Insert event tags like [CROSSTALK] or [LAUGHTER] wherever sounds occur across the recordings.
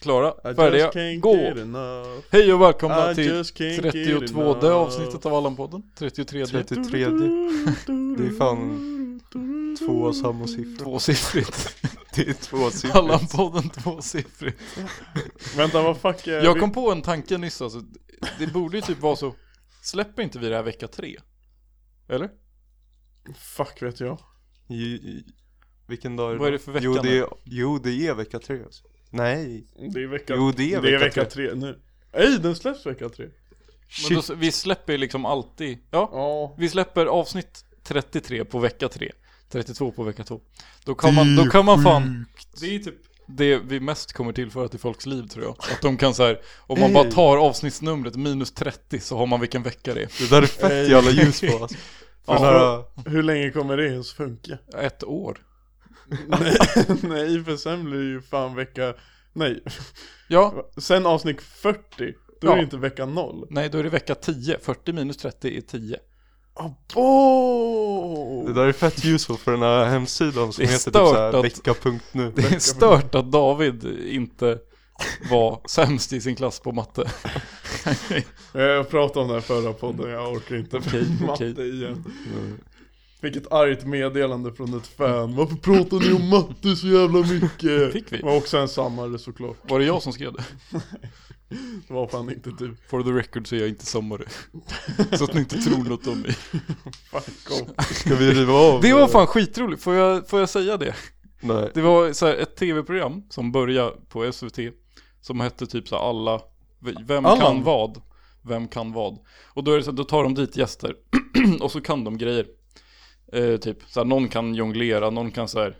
Klara, I färdiga, just can't gå! get enough. Hej och välkomna I till just can't get 32 enough. avsnittet av Allan-podden 33 Det 33. är fan Två samma [LAUGHS] siffror. Tvåsiffrigt Det är tvåsiffrigt. Allan-podden tvåsiffrigt Vänta vad fuck är Jag kom på en tanke nyss alltså Det borde ju typ vara så Släpper inte vi det här vecka tre? Eller? Fuck vet jag Ju- i- Vilken dag är det? Vad är då? det för vecka jo, nu? det är, jo, det är vecka tre alltså. Nej. Det är vecka, Jo, det är vecka tre, nu Nej den släpps vecka tre Men Shit. då, vi släpper ju liksom alltid Ja, Ja vi släpper avsnitt 33 på vecka 3 32 på vecka 2 Då kan man, då kan man fan Det är typ det vi mest kommer tillföra till folks liv tror jag Att de kan så här, om man bara tar avsnittsnumret minus 30 så har man vilken vecka det är Det där är fett Ey. jävla ljus [LAUGHS] på alltså. För Ja. den här, Hur länge kommer det ens funka? Ett år nej, nej för sen blir det ju fan vecka Nej Ja, Sen avsnitt 40 Då Ja. är det inte vecka 0 nej då är det vecka 10 40 minus 30 är 10 det Abo! där är fett ljus på för den här hemsidan som Det är heter typ såhär stört att- vecka.nu. Det är stört att David inte var sämst i sin klass på matte Jag pratade om den här förra podden, jag orkar inte Okej, matte okej. igen Fick ett argt meddelande från ett fan, varför pratar ni om matte så jävla [LAUGHS] mycket? Fick vi? Det var också en sammare såklart, Var det jag som skrev det? det var fan inte du For the record så är jag inte sommare Så att ni inte tror något om mig Fuck [LAUGHS] off Ska vi riva av? Det var fan skitroligt, får jag, får jag säga det? Nej. Det var så här ett tv-program som började på SVT Som hette typ så här alla Vem Allan. kan vad? Vem kan vad? Och då, är det så här, då tar de dit gäster [CLEARS THROAT] Och så kan de grejer eh, Typ så här, någon kan jonglera, någon kan så här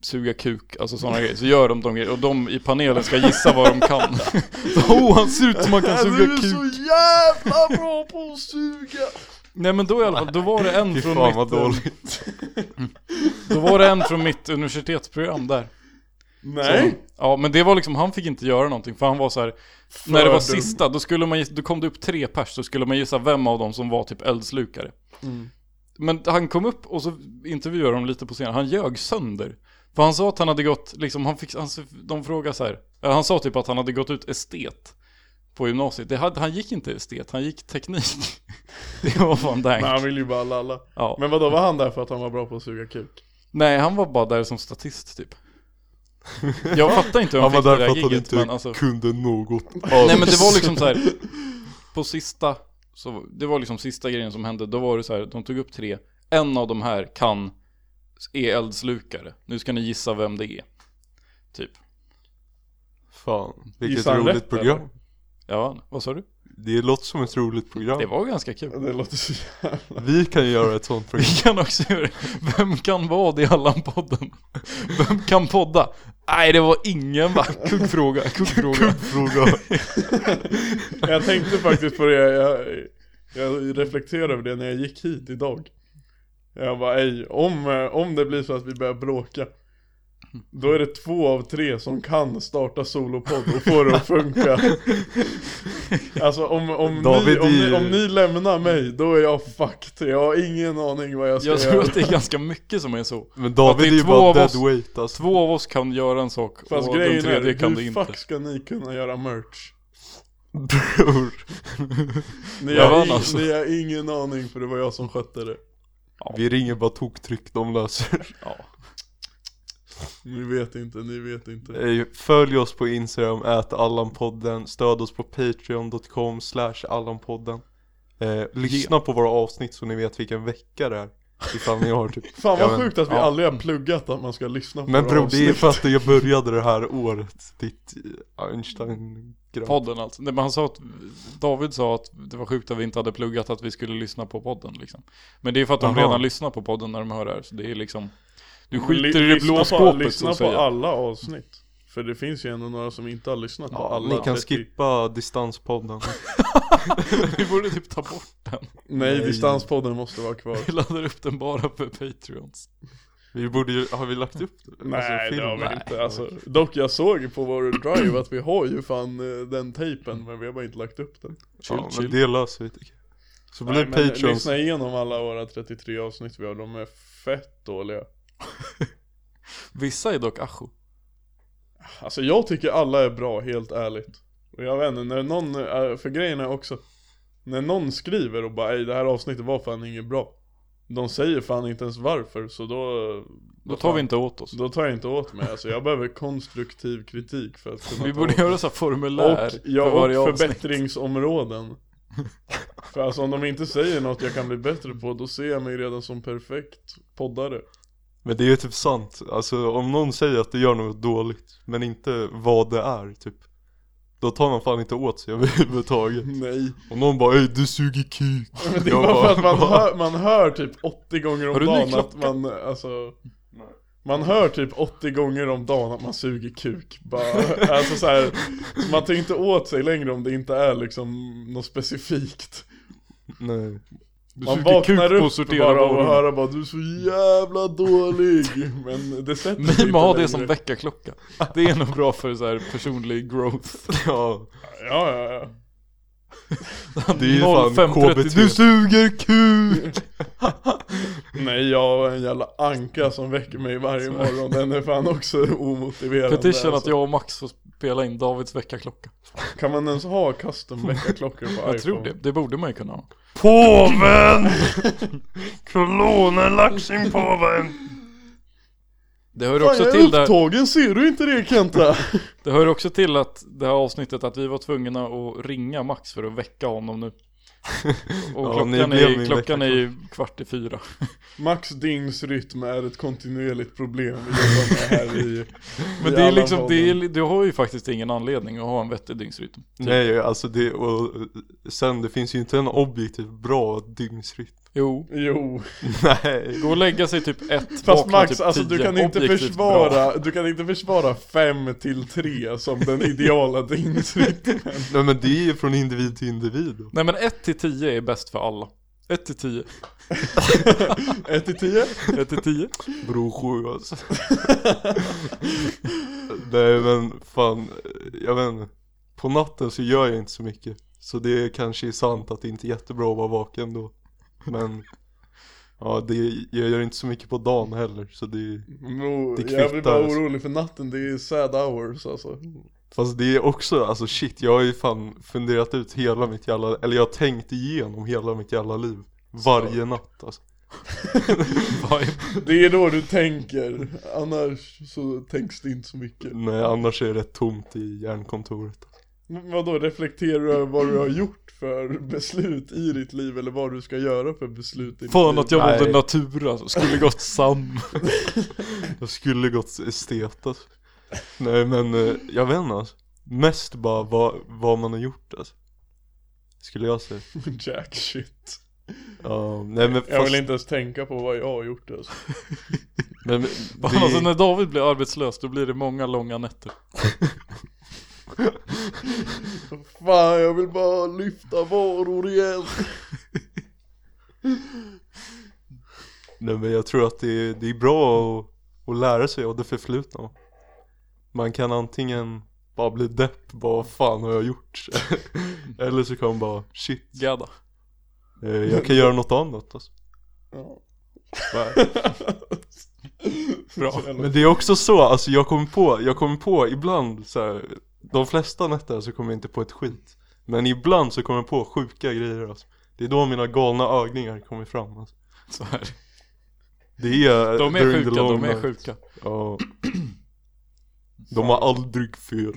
Suga kuk, alltså sådana grejer Så gör de de grejer och de i panelen ska gissa vad de kan så, Oh han ser ut som han kan du suga är kuk så jävla bra på att suga! Nej men då i alla fall, då var det en [LAUGHS] Fy från fan mitt vad eh, dåligt. Då var det en från mitt universitetsprogram där Nej! Ja men det var liksom, han fick inte göra någonting för han var så här. När det var För dum. sista, då, skulle man, gissa- då kom det upp tre pers, då skulle man gissa vem av dem som var typ eldslukare Mm. Men han kom upp och så intervjuade de lite på scenen, han ljög sönder För han sa att han hade gått, liksom, han fick, han, de frågade så här. eller Han sa typ att han hade gått ut estet på gymnasiet, det hade, han gick inte estet, han gick teknik [LAUGHS] Det var fan Men där. han vill ju bara lalla Ja. Men vadå, var han där för att han var bra på att suga kuk? Nej han var bara där som statist typ Jag fattar inte hur han, Han var fick det där där för att han gigget inte men alltså kunde något Nej men det var liksom så här. På sista, så, det var liksom sista grejen som hände. Då var det så här, de tog upp tre. En av de här kan, är eldslukare. Nu ska ni gissa vem det är. Typ. Fan, vilket Gissa han roligt rätt, program. alltså. eller? Ja, vad sa du? Det låter som ett roligt program. Det var ganska kul. [LAUGHS] Det låter så jävla... Vi kan ju göra ett sånt program. Vi kan också göra det. Vem kan vad i Allan-podden? Vem kan podda? Nej, det var ingen va? Kuggfråga, kuggfråga. Fråga. Jag tänkte faktiskt på det, jag, jag reflekterade över det när jag gick hit idag Jag bara ej, om, eh, om det blir så att vi börjar bråka Då är det två av tre som kan starta solopodd och få det [LAUGHS] att funka Alltså om, om, ni, David om, är ni, ju- om ni lämnar mig, då är jag fucked Jag har ingen aning vad jag ska Jag tror göra att det är ganska mycket som är så. [LAUGHS] Men Att det David är är ju två av bara oss- dead weight alltså. Två av oss kan göra en sak Fast och den grejen är, tredje kan det hur inte. fuck ska ni kunna göra merch? Bror. Ni Jag har, vann ing, alltså. ni har ingen aning för det var jag som skötte det Vi ringer bara toktryck, de löser. Ja. Ni vet inte, ni vet inte Eh, Följ oss på Instagram, ät Allanpodden, stöd oss på patreon.com slash Allanpodden. Eh, lyssna på våra avsnitt så ni vet vilken vecka det är. Ifall ni har typ. Fan Ja, vad men- sjukt att vi ja. aldrig har pluggat att man ska lyssna på Men våra bror det är avsnitt. för att jag började det här året. Ditt eh, einstein grabb Podden alltså. Nej, men han sa att David sa att det var sjukt att vi inte hade pluggat att vi skulle lyssna på podden liksom. Men det är för att de Aha. redan lyssnar på podden när de hör det här så det är liksom Du Li- skiter i det lyssna blå på- skåpet Lyssna så på att säga. alla avsnitt För det finns ju ändå några som inte har lyssnat på Ja, alla ni kan 30. skippa distanspodden. [LAUGHS] Vi borde typ ta bort den. Nej, distanspodden måste vara [LAUGHS] kvar Alltså, Vi laddar upp den bara för Patreons. Vi borde ju, har vi lagt upp det? Alltså, Nej det har vi filmen? inte alltså, Dock jag såg på vår drive att vi har ju fan eh, den tejpen men vi har bara inte lagt upp den Chill ja, men chill. det löser vi tycker jag. Så blir Nej, det men Patreons. lyssna igenom alla våra 33 avsnitt vi har, de är fett dåliga Vissa är dock ajo. Alltså jag tycker alla är bra, helt ärligt. Och jag vet inte, när någon, eh, för grejen är också, när någon skriver och bara ej det här avsnittet var fan inget bra. De säger fan inte ens varför, så då, Då tar vi inte åt oss. då tar jag inte åt mig. Alltså jag behöver konstruktiv kritik för att kunna Vi ta borde åt mig. göra så här formulär Och, ja, för varje och avsnitt. [LAUGHS] förbättringsområden. för alltså om de inte säger något jag kan bli bättre på, då ser jag mig redan som perfekt poddare. Men det är ju typ sant, alltså om någon säger att du gör något dåligt men inte vad det är typ Då tar man fan inte åt sig [LAUGHS] överhuvudtaget Nej. Om någon bara 'Ey du suger kuk' Men det är Jag bara för att man "Va?" hör, man hör typ 80 gånger Har om du ny dagen att klocka? man, alltså Man hör typ 80 gånger om dagen att man suger kuk bara, Alltså så här, så man tar inte åt sig längre om det inte är liksom något specifikt Nej [LAUGHS] Du Man suger vaknar kuk på upp bara av att sorterbara höra bara du är så jävla dålig Men det sätter [LAUGHS] sig Mima har det som längre. väckarklocka. Det är nog bra för så här personlig growth. Ja, Ja ja ja det är ju fan 05.33. KBT Du suger kuk! [LAUGHS] Nej jag har en jävla anka som väcker mig varje morgon Den är fan också omotiverande Alltså. Petition att alltså. jag och Max får spela in Davids väckarklocka. Kan man ens ha custom väckarklockor på iPhone? Jag tror det, det borde man ju kunna ha. Påven! Kronolaxinpåven! Det hör Fan också jag till är där. upptagen, ser du inte det Kenta? [LAUGHS] Det hör också till att det här avsnittet att vi var tvungna att ringa Max för att väcka honom [LAUGHS] nu. Och Ja, ni klockan, blev är, min klockan är ju kvart i [LAUGHS] fyra. Max dygnsrytm är ett kontinuerligt problem vi jobbar med här i [LAUGHS] Men i det är alla liksom, det är, podden. li- du har ju faktiskt ingen anledning att ha en vettig dygnsrytm. Nej alltså det, och sen det finns ju inte en objektiv bra dygnsrytm [LAUGHS] Jo. Jo, Nej Gå och lägga sig typ ett, [LAUGHS] fast vakna Max typ alltså tio. du kan inte Objektivt bra. försvara, du kan inte försvara 5 till 3 som den [LAUGHS] ideala dygnsrytmen Nej men det är ju från individ till individ Nej men 1 till 10 är bäst för alla. 1 till [LAUGHS] 10. 1 till 10? 1 till 10. Bro sju alltså Nej men fan, jag vet inte På natten så gör jag inte så mycket Så det kanske är sant att det inte är jättebra att vara vaken då Men Ja det, jag gör inte så mycket på dagen heller så det Bro, Det jag blir kvittar, bara alltså. orolig för natten, det är sad hours alltså Fast det är också, alltså shit jag har ju fan funderat ut hela mitt jävla, eller jag har tänkt igenom hela mitt jävla liv Varje natt alltså Vad är- Det är då du tänker, annars så tänks det inte så mycket Nej annars är det rätt tomt i hjärnkontoret Men Vadå, reflekterar du över vad du har gjort för beslut i ditt liv eller vad du ska göra för beslut i ditt Fan liv? att jag Nej. valde natur alltså. Skulle gått sam. Jag skulle gått estet alltså. Nej men eh, jag vet inte alltså. Mest bara vad, vad man har gjort alltså. Skulle jag säga. [LAUGHS] Jack shit Ja, nej men fast, Jag vill inte ens tänka på vad jag har gjort alltså. men, Fan, [LAUGHS] alltså det, när David blir arbetslös då blir det många långa nätter. Fan jag vill bara lyfta varor igen nej men jag tror att det, är- det är bra att, att lära sig av det förflutna. Man kan antingen bara bli depp, bara vad fan har jag gjort? [LAUGHS] Eller så kan man bara shit, Gadda. eh, jag kan göra något annat alltså. [LAUGHS] ja. Bara, Bra. Men det är också så, alltså jag kommer på, jag kommer på ibland så här, De flesta nätter så kommer jag inte på ett skit Men ibland så kommer jag på sjuka grejer alltså. Det är då mina galna ögningar kommer fram alltså. [LAUGHS] Så här. Det är De är during the sjuka, long de är night. sjuka. Ja. De har aldrig fel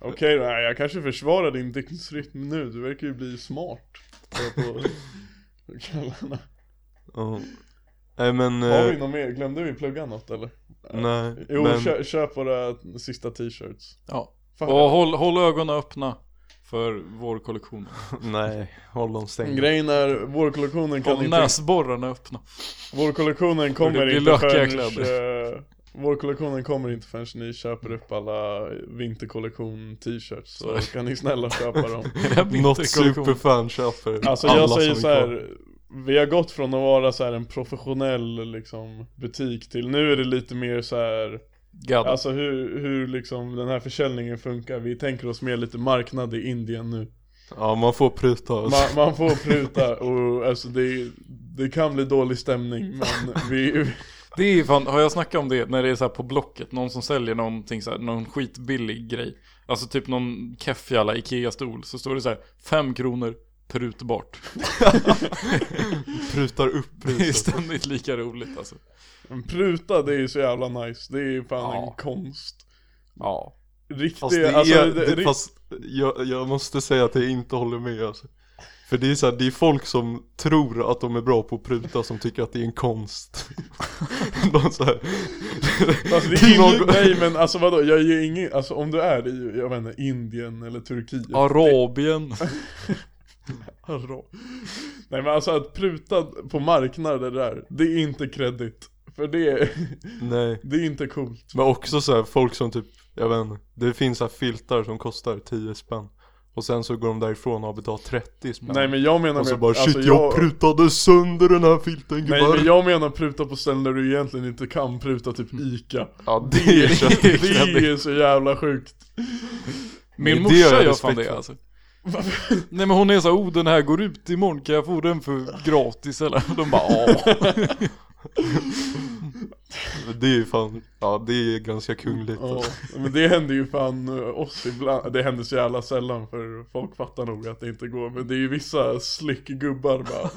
Okej då, nej, jag kanske försvarar din dygnsrytm nu, du verkar ju bli smart på, på på kvällarna. Ja. Nej men, Har vi eh, något mer? Glömde vi plugga något eller? nej Jo, men, kö, köp våra sista t-shirts Ja. Fan, Och håll, håll ögonen öppna för vår kollektion. [LAUGHS] nej håll dem stängda Grejen är, vårkollektionen kan Håll inte näsborrarna öppna. Vårkollektionen Det kommer blir inte lökiga förrän... eh, Vårkollektionen kommer inte förrän ni köper upp alla vinterkollektion t-shirts Så Sorry. kan ni snälla köpa dem [LAUGHS] Något superfan köper Alltså alla jag som säger är så kvar. här. Vi har gått från att vara så här en professionell liksom, butik till nu är det lite mer så här Gadda. Alltså hur, hur liksom den här försäljningen funkar Vi tänker oss mer lite marknad i Indien nu Ja man får pruta alltså. Man, man får pruta och alltså det, det kan bli dålig stämning men vi, Det är fan, har jag snackat om det när det är så här på Blocket, någon som säljer någonting så här, någon skitbillig grej. Alltså typ någon keff jävla Ikea-stol, så står det så här 5 kronor prutbart. [LAUGHS] Prutar upp [LAUGHS] Det är priset. ständigt lika roligt alltså. En pruta det är ju så jävla nice, det är ju fan Ja. en konst. Ja. Riktigt, Fast, det är, alltså, det, det, ri- fast jag, jag måste säga att jag inte håller med alltså. För det är så här, det är folk som tror att de är bra på att pruta som tycker att det är en konst. [LAUGHS] de så här. [LAUGHS] Alltså det är ingen, Någon- nej men alltså vadå, jag ger ingen, alltså om du är i, jag vet inte, Indien eller Turkiet Arabien. Arab. Nej men alltså att pruta på marknader där, det är inte kredit För det är, [LAUGHS] Nej. det är inte coolt Men också så här, folk som typ, jag vet inte, det finns så här filtar som kostar 10 spänn. Och sen så går de därifrån och har betalat 30 spänn. Nej men jag menar och så med- bara shit alltså, jag... prutade sönder den här filten gubbar. Nej men jag menar pruta på ställen där du egentligen inte kan pruta, typ Ica Ja Mm. det är [LAUGHS] Det kö- är ju så jävla sjukt Det Min är morsa det jag har gör fan respekt det för. alltså. Nej men hon är så här, oh den här går ut imorgon, kan jag få den för gratis eller? [LAUGHS] Och de bara ja. Det är ju fan, ja det är ganska kungligt. alltså. Ja, men det händer ju fan eh, oss ibland, det händer så jävla sällan för folk fattar nog att det inte går Men det är ju vissa slickgubbar bara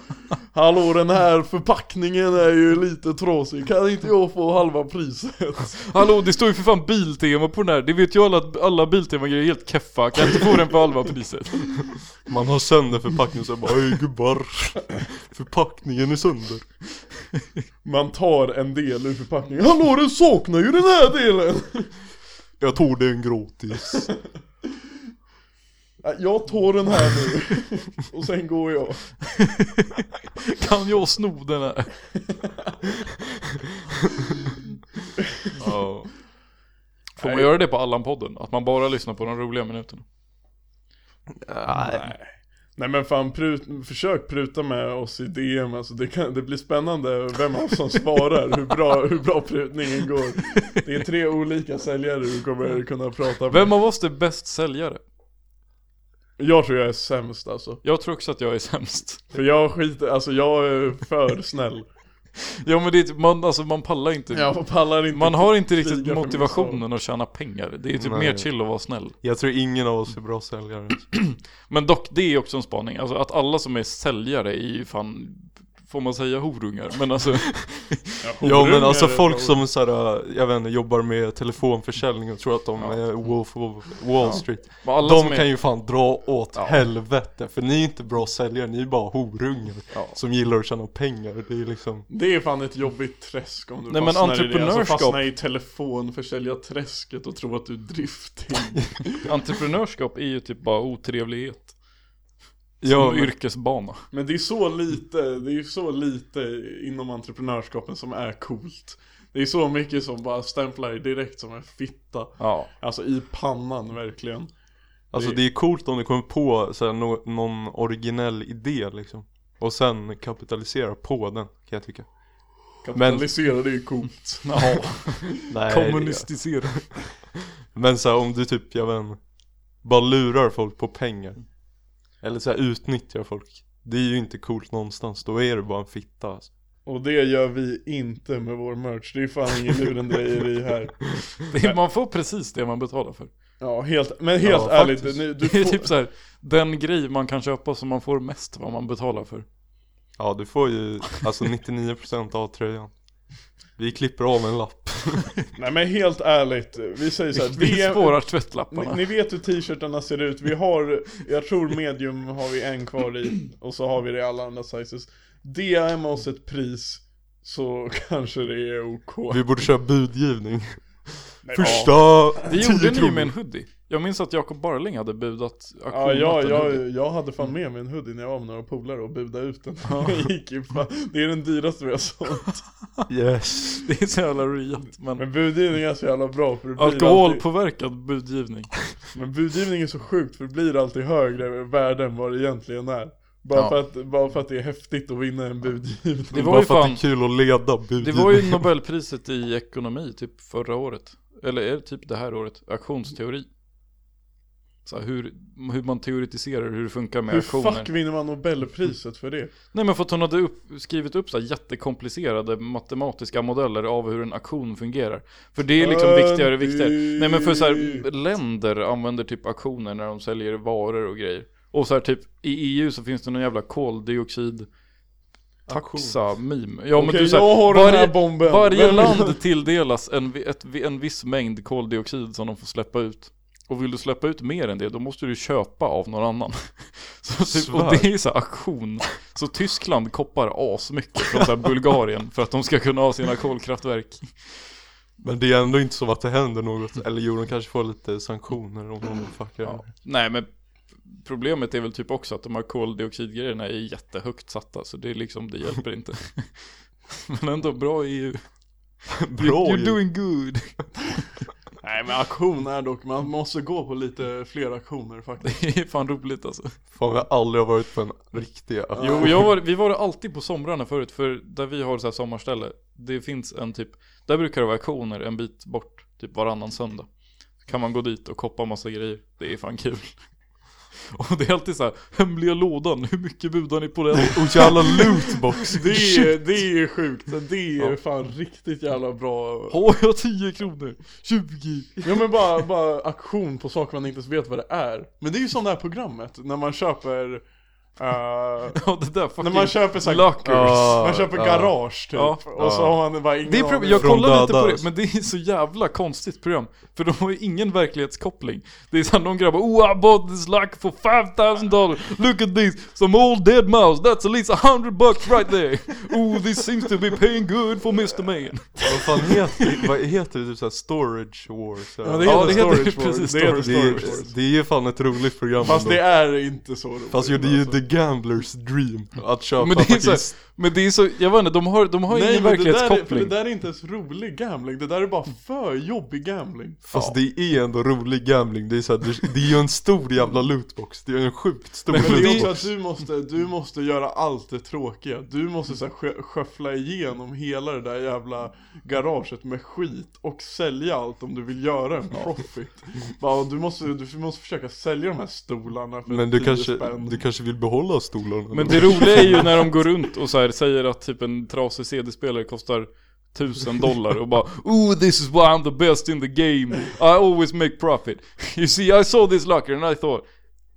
Hallå den här förpackningen är ju lite trasig, kan inte jag få halva priset? Hallå det står ju för fan Biltema på den här, det vet ju alla att alla Biltema-grejer är helt keffa, kan jag inte få den för halva priset? Man har sönder förpackningen så bara Oj gubbar, förpackningen är sönder. Man tar en del ur förpackningen, hallå den saknar ju den här delen! Jag tog den gratis. "Nej, Jag tar den här nu, och sen går jag [LAUGHS] Kan jag sno den här? [LAUGHS] Ja. Får man göra det på Allan-podden? Att man bara lyssnar på de roliga minuterna? Nej. Nej men fan, prut, försök pruta med oss i DM, alltså det, kan, det blir spännande vem av oss som svarar, hur bra, hur bra prutningen går. Det är tre olika säljare du kommer kunna prata med. Vem av oss är bäst säljare? Jag tror jag är sämst alltså. Jag tror också att jag är sämst. För jag skiter, alltså jag är för snäll. Ja men det är typ, man, alltså man pallar inte. Jag pallar inte. man har inte riktigt kriga för min motivationen att tjäna pengar. Det är typ Nej. mer chill att vara snäll. Jag tror ingen av oss är bra säljare. Men dock, det är också en spaning. Alltså att alla som är säljare är ju fan, får man säga horungar? Men alltså, [LAUGHS] Ja men alltså horungar, folk som såhär, jag vet inte, jobbar med telefonförsäljning och tror att de Ja. är Wolf of Wall Street. men alla som De är... kan ju fan dra åt Ja. helvete, för ni är inte bra säljare, ni är bara horungar Ja. som gillar att tjäna pengar. Det är liksom Det är fan ett jobbigt träsk om du Nej, men fastnar i det. Alltså entreprenörskap- fastna i telefonförsäljarträsket och tro att du är driftig. Entreprenörskap är ju typ bara otrevlighet. Ja, Som men- yrkesbana. Men det är så lite, det är ju så lite inom entreprenörskapen som är coolt. Det är så mycket som bara stämplar dig direkt som en fitta. Ja. Alltså i pannan verkligen. Alltså Det- det är coolt om du kommer på så här, nå- någon originell idé liksom Och sen kapitalisera på den kan jag tycka Kapitalisera det är ju coolt. Ja, [LAUGHS] Nej, kommunistisera. Men så här, om du typ, jag vet inte, Bara lurar folk på pengar Eller så här, utnyttjar folk Det är ju inte coolt någonstans, då är du bara en fitta alltså. Och det gör vi inte med vår merch. Det är fan ingen lurendrejeri här. Det är- Man får precis det man betalar för. Ja, helt, men helt Ja, ärligt. faktiskt. Nu, du Det är [LAUGHS] får, typ så här, den grej man kan köpa som man får mest vad man betalar för. Ja du får ju alltså 99% av tröjan Vi klipper av en lapp nej men helt ärligt. Vi säger [LAUGHS] så här. Vi DM spårar Ni, tvättlapparna. ni vet hur t-shirtarna ser ut, vi har, jag tror medium har vi en kvar i och så har vi det i alla andra sizes DM oss ett pris så [LAUGHS] kanske det är OK Vi borde köra budgivning Men, Första ja. 10 det gjorde ni ju kronor. med en hoodie. Jag minns att Jakob Barling hade budat Ja, auktionat ja en hoodie. jag, jag hade fan med mig en hoodie när jag var med några polare och budade ut den [LAUGHS] Det gick ju fan, Det är den dyraste vi har sålt Yes Det är så jävla riat, men Men budgivning är så jävla bra för det blir alltid, alkoholpåverkad budgivning. Men budgivning är så sjukt för det blir alltid högre värde än vad det egentligen är bara, Ja. för att, bara för att det är häftigt att vinna en budgivning Det var Bara ju för att det fan, är kul att leda budgivning det var ju [LAUGHS] Nobelpriset i ekonomi typ förra året. Eller är det typ det här året? Aktionsteori. så här, hur, hur man teoretiserar hur det funkar med Hur aktioner. fuck vinner man nobelpriset för det? Nej men för att hon hade upp, skrivit upp så här jättekomplicerade matematiska modeller av hur en aktion fungerar. För det är liksom viktigare och viktigare. Nej men för så här, länder använder typ aktioner när de säljer varor och grejer. Och så här typ, i EU så finns det någon jävla koldioxid taxa meme. Ja men Okej, du så här, jag har den här varje, bomben. varje Vem- [LAUGHS] land tilldelas en, vi- ett, vi- en viss mängd koldioxid som de får släppa ut. Och vill du släppa ut mer än det, då måste du köpa av någon annan. [LAUGHS] Så typ, och det är ju så här aktion. Så Tyskland koppar asmycket från så här Bulgarien för att de ska kunna ha sina kolkraftverk. Men det är ändå inte som att det händer något. Eller jo, de kanske får lite sanktioner om de fuckar. Ja. Nej men problemet är väl typ också att de här koldioxidgrejerna är jättehögt satta, så det är liksom, det hjälper inte. [LAUGHS] Men ändå bra EU. Bra You're ju. doing good. [LAUGHS] Nej men auktion är dock, man måste gå på lite fler auktioner faktiskt. Det är [LAUGHS] fan roligt alltså. Fan, jag har aldrig varit på en riktig aktion. Jo, jag var, vi var alltid på somrarna förut, för där vi har så här sommarställe, det finns en typ, där brukar det vara auktioner en bit bort, typ varannan söndag. Kan man gå dit och koppa massa grejer, det är fan kul. [LAUGHS] Och det är alltid så här, hemliga lådan, hur mycket budar ni på den? [LAUGHS] Och jävla lootbox. [LAUGHS] Det är, det är sjukt, det är Ja. fan riktigt jävla bra. Har jag 10 kronor? 20? Ja men bara, bara auktion på saker man inte ens vet vad det är. Men det är ju som det här programmet, när man köper... [LAUGHS] eh, Ja, det där fucking... när man köper såhär... Lockers. Man köper Ja. garage typ, Ja. och så har man bara ingen Det är aning. pro- jag Från kollar lite på döda. det, men det är så jävla konstigt program. För de har ju ingen verklighetskoppling. Det är såhär, någon grabbar Oh I bought this lock for 5000 dollar. Look at this, some old dead mouse. That's at least 100 bucks right there. Oh this seems to be paying good for Mr. Man. Vad fan heter, vad heter det? Typ såhär storage wars? eller? Ja, det Ja, heter det heter Storage det Wars. precis, Det heter det, är, Storage Wars. det är ju fan ett roligt program Fast ändå. det är inte så roligt. Fast ju, det är ju alltså. the gamblers dream att köpa Men det är så här, faktiskt men det är så, jag vet inte, de har, de har Nej ingen men det där, är, för det verklighetskoppling. där är inte ens rolig gambling, det där är bara för jobbig [LAUGHS] gambling. Fast det är ändå rolig gambling, det är, så här, det, det är ju en stor jävla lootbox, det är ju en sjukt stor Men Men det är också lootbox att du måste, du måste göra allt det tråkiga. Du måste så här, skö- sköffla igenom hela det där jävla garaget med skit och sälja allt om du vill göra en profit. Bara, du, måste, du måste försöka sälja de här stolarna för Men du 10 kanske, spänn. du kanske vill behålla stolarna Men det roliga är ju när de går runt och så här säger att typ en trasig CD-spelare kostar 1000 dollar och bara Oh this is why I'm the best in the game I always make profit You see I saw this locker and I thought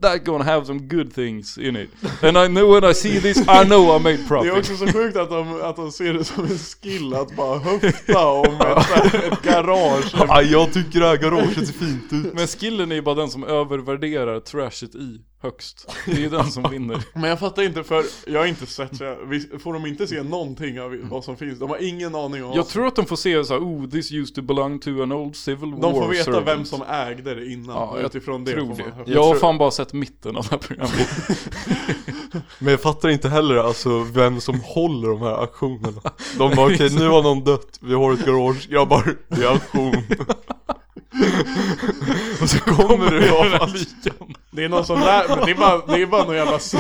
That gonna have some good things in it And I know when I see this I know I made Det är profit också så sjukt att de, att de ser det som en skill att bara höfta om ett, så [LAUGHS] här, ett garage. Ah, jag tycker det här garaget ser fint ut Men skillen är ju bara den som övervärderar trashet i högst Det är ju den som [LAUGHS] vinner Men jag fattar inte för jag har inte sett så jag, vi- Får de inte se någonting av vad som finns? De har ingen aning om vad Mm. Jag tror att de får se så här, Oh this used to belong to an old civil war De får veta servant." vem som ägde det innan, Ja, och jag utifrån det Tror får man det. höra. Jag har tror- fan bara sett mitten av det här programmet Men jag fattar inte heller alltså vem som håller de här aktionerna De bara okej nu har någon dött, vi har ett garage, grabbar, det är auktion Och så kommer det Ja, ja, fast- Det är någon som lär, men det är bara, det är bara någon jävla s-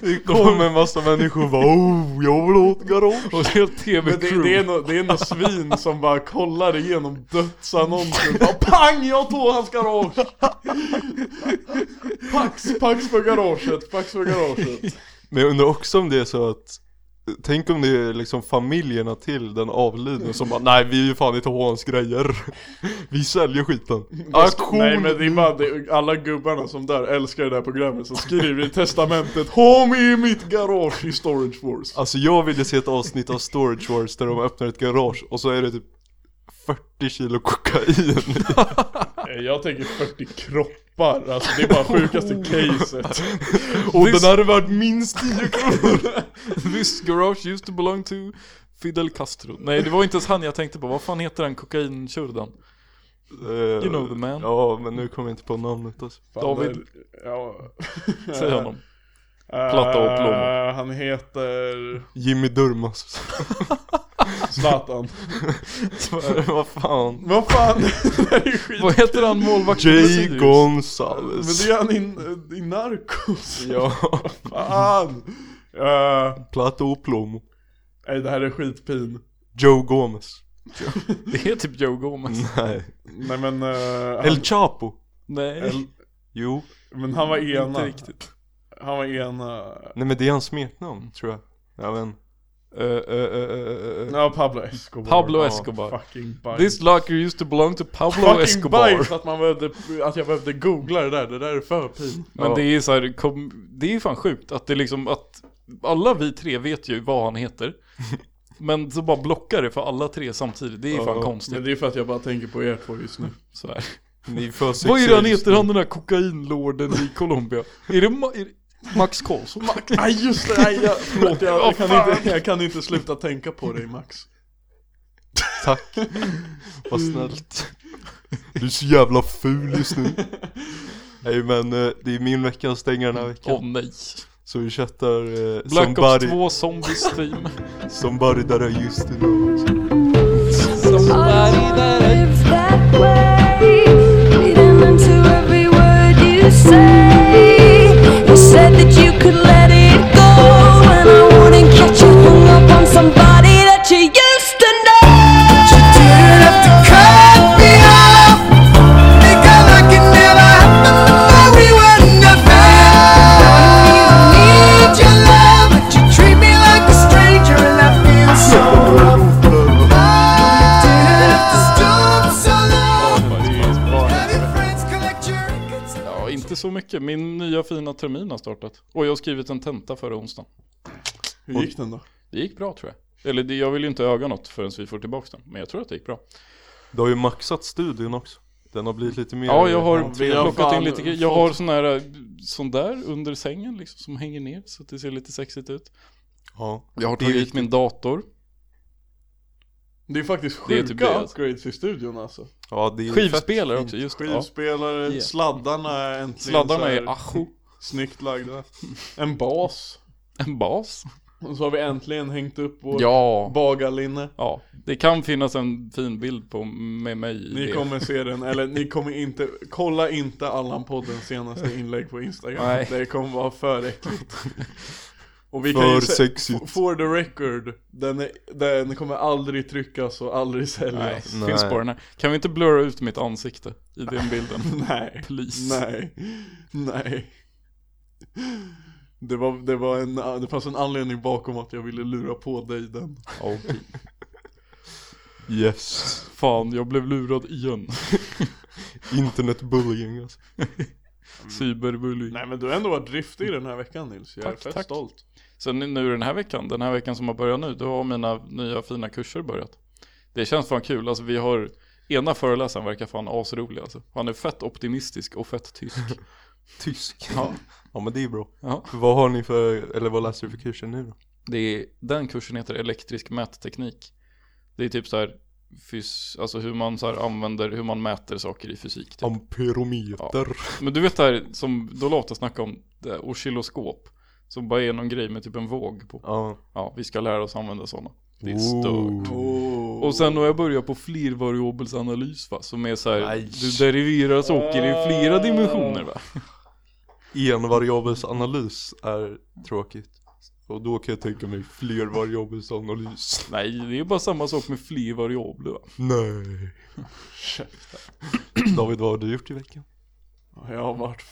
det kommer en massa människor och bara oh, jag vill ha ett [LAUGHS] garage Och ett helt men det, det, är tv-crew. nå, det är någon svin som bara kollar igenom dödsannonser och bara PANG! Jag tog hans garage! Pax, pax för garaget, pax för garaget Men jag undrar också om det är så att Tänk om det är liksom familjerna till den avlidne som bara Nej vi är ju fan inte hans grejer Vi säljer skiten Auktion! Nej men det är bara, det, alla gubbarna som där älskar det där programmet som skriver i testamentet HA MIG MITT GARAGE I Storage Wars Alltså jag ville se ett avsnitt av Storage Wars där de öppnar ett garage och så är det typ 40 kilo kokain [LAUGHS] Nej, Eh, Jag tänker 40 kroppar, alltså det är bara Oh. sjukaste caset Och This- den här är värd minst 10 kronor [LAUGHS] This garage used to belong to Fidel Castro. Nej, det var inte ens han jag tänkte på. Vad fan heter han kokainkördan? You know the man. Eh, Ja men nu kommer jag inte på namnet alltså David. det- [LAUGHS] Ja. Säg honom. Eh, Platta och plommon. Han heter [LAUGHS] Jimmy Durmaz Zlatan. Vad fan Vad fan, det här är skit. Vad heter han målvakten med Jay Sirius? Men Gonzales det är han i, i Narcos. Ja, Fan. Eh, Plato Plomo Nej det här är skitpin. Joe Gomez Mm. Det är typ Joe Gomez. Nej Nej men, eh, han, El Chapo! Nej. El- Jo, men han var ena. Inte riktigt. Han var eh, ena. nej men det är hans smeknamn tror jag. Ja men. Eh, eh, eh, eh, eh. Ja, Pablo Escobar. Pablo Ja, Escobar. Fucking bajs. This locker used to belong to Pablo Ah, fucking Escobar. bajs att, man behövde, att jag behövde googla det där, det där är för pinsamt. Men Ja. det är så här, kom, det är ju fan sjukt att det liksom att alla vi tre vet ju vad han heter. Men så bara blockar det för alla tre samtidigt, det är ju fan Ja, konstigt. Men det är för att jag bara tänker på er två just nu. Så här. Ni är för sexiga Vad är det han just heter, nu. han den här kokainlorden i Colombia? Är det, Ma- är det Max Karlsson? [LAUGHS] Max. Nej just det, nej, jag, förlåt, jag, Åh, jag, kan fan. inte, jag kan inte sluta tänka på dig Max. [LAUGHS] Tack. Vad snällt. Du är så jävla ful just nu. Nej men eh, det är min vecka att stänga den här veckan. Åh nej. Så vi chattar eh, Black Ops somebody, 2 Zombies [LAUGHS] Team. somebody that I used to know. Somebody that lives that way, reading into every word you say. You said that you could let it go, and I wouldn't catch you hung up on somebody that you used to know. But you didn't have to cut me off. Think I like it never happened, but we were nothing. You need your love, but you treat me like a stranger, and I feel so rough. Ja, inte så mycket. Min nya fina termin har startat. Och jag har skrivit en tenta förra onsdagen. Hur gick den då? Det gick bra tror jag. Eller det, jag vill ju inte öga något förrän vi får tillbaka den. Men jag tror att det gick bra. Du har ju maxat studion också. Den har blivit lite mer... Ja, jag har Ja, vi har plockat in fan lite grejer. Jag fått- har sån här, eh, sån där under sängen liksom, som hänger ner så att det ser lite sexigt ut. Ja. Jag har Det är tagit viktigt. min dator. Det är faktiskt sjuka Det är typ det. upgrades i studion alltså. ja det är Skivspelare fett också, just det. Ja. Skivspelare, Ja. sladdarna är äntligen så Sladdarna här är ajo, [LAUGHS] snyggt lagda. En bas. en bas. Och så har vi äntligen hängt upp vår Ja. bagarlinne. ja, det kan finnas en fin bild på med mig i Ni det. kommer se den, eller ni kommer inte, kolla inte Allan-poddens senaste inlägg på Instagram. Nej. Det kommer vara [LAUGHS] för äckligt. Och vi kan För ju se, sexigt. for the record, den, är, den kommer aldrig tryckas och aldrig Nej, säljas. finns Nej. bara den här. Kan vi inte blurra ut mitt ansikte i den [LAUGHS] bilden? Nej. Please. Nej. Nej. Det, var, det, var en, det fanns en anledning bakom att jag ville lura på dig den. Okej. Yes. Fan, jag blev lurad igen. Mm. Internetbullying alltså. Cyberbullying. Nej men du har ändå varit driftig den här veckan Nils, jag är Tack, fett tack. stolt. Sen nu den här veckan, den här veckan som har börjat nu, då har mina nya fina kurser börjat. Det känns fan kul, alltså vi har, ena föreläsaren verkar fan asrolig alltså. Han är fett optimistisk och fett tysk. [LAUGHS] Tysk. Ja. ja men det är bra. Ja. Typ. Vad har ni för, eller vad läser du för kurser nu då? Det är, den kursen heter elektrisk mätteknik. Det är typ så här, fys, alltså hur man så här använder, hur man mäter saker i fysik. Typ. Amperometer. Men du vet det här som Dolota snackade om, det här oscilloskop. Som bara är någon grej med typ en våg på. Ja. Ja, vi ska lära oss använda sådana. Det är Ooh. stört. Och sen har jag börjat på flervariobelsanalys va, som är så här, Nej. du deriverar saker i flera dimensioner va? Envariabelsanalys är tråkigt. Och då kan jag tänka mig flervariabelsanalys. Nej, det är bara samma sak med fler variabler va? Nej. David, vad har du gjort i veckan? Jag har varit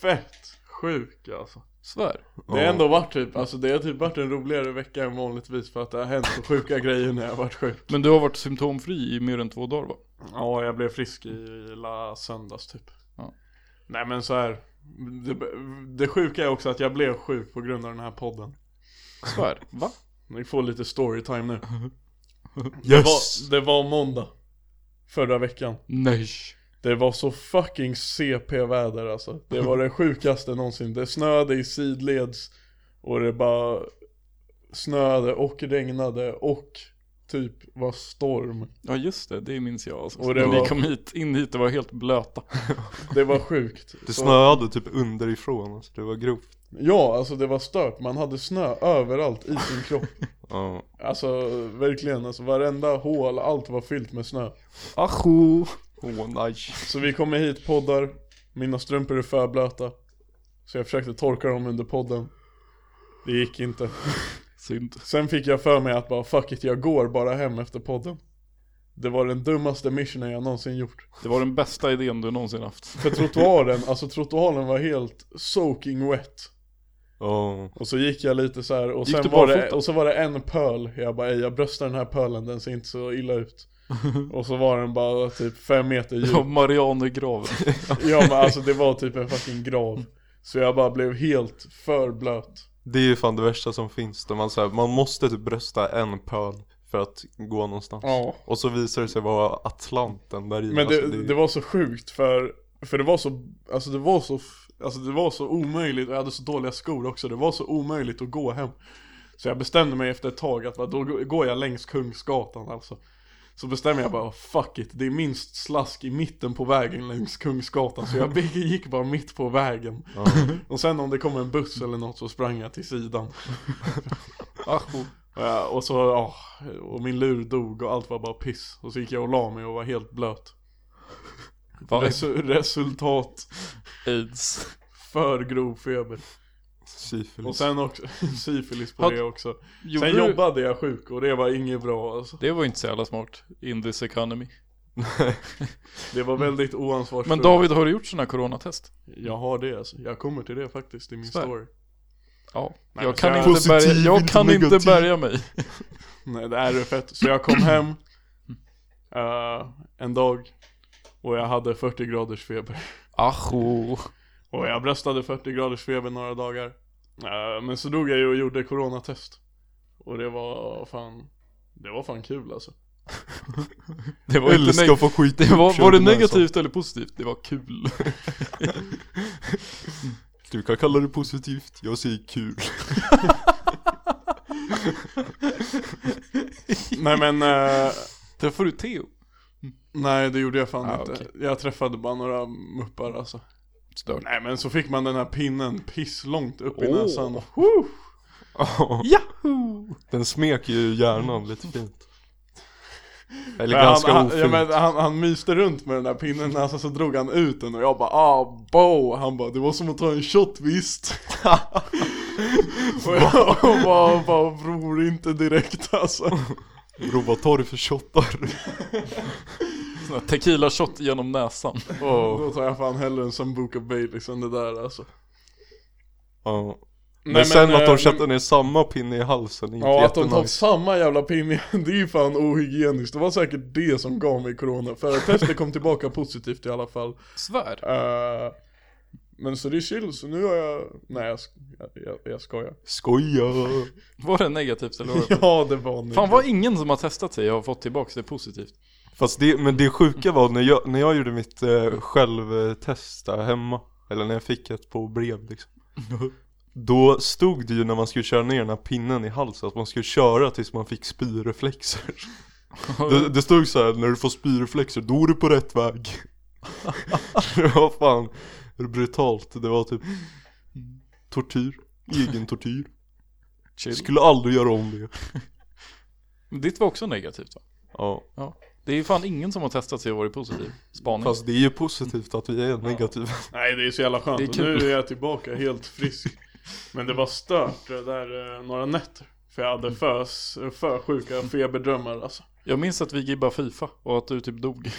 fett sjuk alltså. Svär. Det har ändå varit typ, alltså det har typ varit en roligare vecka än vanligtvis för att det har hänt så [LAUGHS] sjuka grejer när jag har varit sjuk. Men du har varit symptomfri i mer än två dagar va? Ja, jag blev frisk i la söndags typ. Ja. Nej men så här. Det, det sjuka är också att jag blev sjuk på grund av den här podden. Svär. Va? Ni får lite storytime nu. Det, Yes! var, det var måndag. Förra veckan. Nej. Det var så fucking CP-väder alltså. Det var det sjukaste någonsin. Det snöade i sidleds och det bara snöade och regnade och typ var storm. Ja just det, det minns jag alltså. Och Och det Ni var- kom hit, in hit och var helt blöta. Det var sjukt. Det snöade typ underifrån, alltså det var grovt. Ja, alltså det var stört. Man hade snö överallt i sin kropp. Ja. Alltså verkligen, alltså varenda hål, allt var fyllt med snö. Ajo! Åh nej. Så vi kommer hit, poddar. Mina strumpor är för blöta. Så jag försökte torka dem under podden. Det gick inte. Synd. Sen fick jag för mig att bara fuck it, jag går bara hem efter podden. Det var den dummaste missionen jag någonsin gjort. Det var den bästa idén du någonsin [LAUGHS] haft. För trottoaren, alltså trottoaren var helt soaking wet. Ja, Och så gick jag lite så här och, Gick sen du var det, barfota? och så var det en pöl Jag bara, "Ey, jag bröstar den här pölen, den ser inte så [LAUGHS] illa ut Och så var den bara typ fem meter Ja, djup Marianergraven. [LAUGHS] Ja men alltså det var typ en fucking grav Så jag bara blev helt för blöt det är ju fan det värsta som finns. Där man, så här, man måste typ brösta en pöl för att gå någonstans. Ja Och så visar det sig vara Atlanten där i. Men Alltså, det, det var så sjukt för, för det var så, alltså det var så, f- alltså det var så omöjligt och jag hade så dåliga skor också Det var så omöjligt att gå hem Så jag bestämde mig efter ett tag att bara, då g- går jag längs Kungsgatan alltså Så bestämde jag bara, fuck it, det är minst slask i mitten på vägen längs Kungsgatan Så jag gick bara mitt på vägen [LAUGHS] Ja. Och sen om det kom en buss eller något så sprang jag till sidan oh. Ajo. Och jag- Och så, ja, och min lur dog och allt var bara piss Och så gick jag och la mig och var helt blöt Vad är Resu- resultat aids? för grov feber. Syfilis. Och sen också [LAUGHS] syfilis på Har- det också. Mm. Gjorde Sen du- jobbade jag sjuk och det var inget bra alltså. Det var inte så jävla smart. In this economy. Det var väldigt oansvarigt. Mm. Men David, har du gjort sådana coronatest? Jag har det alltså. Jag kommer till det faktiskt i min Svär. story. Ja. Nej, jag så kan, jag- inte, bärga, Positiv, jag inte kan inte negativ. bärga mig. Nej det här är fett. Så jag kom hem Mm. eh, en dag och jag hade 40 graders feber. Ajo. Och jag bröstade 40 graders feber några dagar. Eh, men så dog jag ju och gjorde coronatest. Och det var fan, det var fan kul alltså. Det var inte Eller ska negativt. få [LAUGHS] skit Det var, var det Kör den här negativt eller positivt? Det var [LAUGHS] kul. saken. Du kan kalla det positivt, jag säger kul. Nej men eh, Träffade du Theo? Nej det gjorde jag fan Ah, inte. okej. Jag träffade bara några muppar alltså. Stört. Nej men så fick man den här pinnen pisslångt upp i Åh. näsan. Woo! Ja, Yahoo! Den smek ju hjärnan lite fint. Eller Men ganska han, han, ofint. ja, men han, han myste runt med den där pinnen i näsan så drog han ut den och jag bara ah bo. Han bara det var som att ta en shot visst. och jag [LAUGHS] bara, bara bror inte direkt alltså. Bror vad tar du för shottar? Sån här tequila shot genom näsan. Ja. Då tar jag fan hellre en Sambuca Baileys än det där alltså. Ja. Men, Nej, sen att eh, de köpte ner samma pinne i halsen är inte Ja, att de tar jättenice. samma jävla pinne, [LAUGHS] det är ju fan ohygieniskt. Det var säkert det som gav mig corona, för testet kom tillbaka [LAUGHS] positivt i alla fall. Svär. Eh, men så det är chill, så nu har jag... Nej, jag, sk- jag, jag, jag skojar. Skoja! [LAUGHS] Var det negativt eller [LAUGHS] var det Ja, det var nu. Fan var ingen som har testat sig och har fått tillbaka det positivt. Fast det, men det sjuka var när jag, när jag gjorde mitt eh, självtest där hemma. Eller när jag fick ett på brev liksom. [LAUGHS] Då stod det ju när man skulle köra ner den här pinnen i halsen att man skulle köra tills man fick spyreflexer. Det, det stod så här, när du får spyreflexer då är du på [LAUGHS] rätt väg. det var fan brutalt. Det var typ tortyr. Egen tortyr. [LAUGHS] Chill. Skulle aldrig göra om det. Ditt var också negativt va? Ja. Det är ju fan ingen som har testat sig och varit positiv. Spaning. Fast det är ju positivt att vi är negativa. [LAUGHS] Nej, det är så jävla skönt. Det är Och kul. Nu är jag tillbaka helt frisk. Men det var stört det där eh, några nätter. För jag hade för, s- för sjuka feberdrömmar alltså. Jag minns att vi gibbade FIFA och att du typ dog.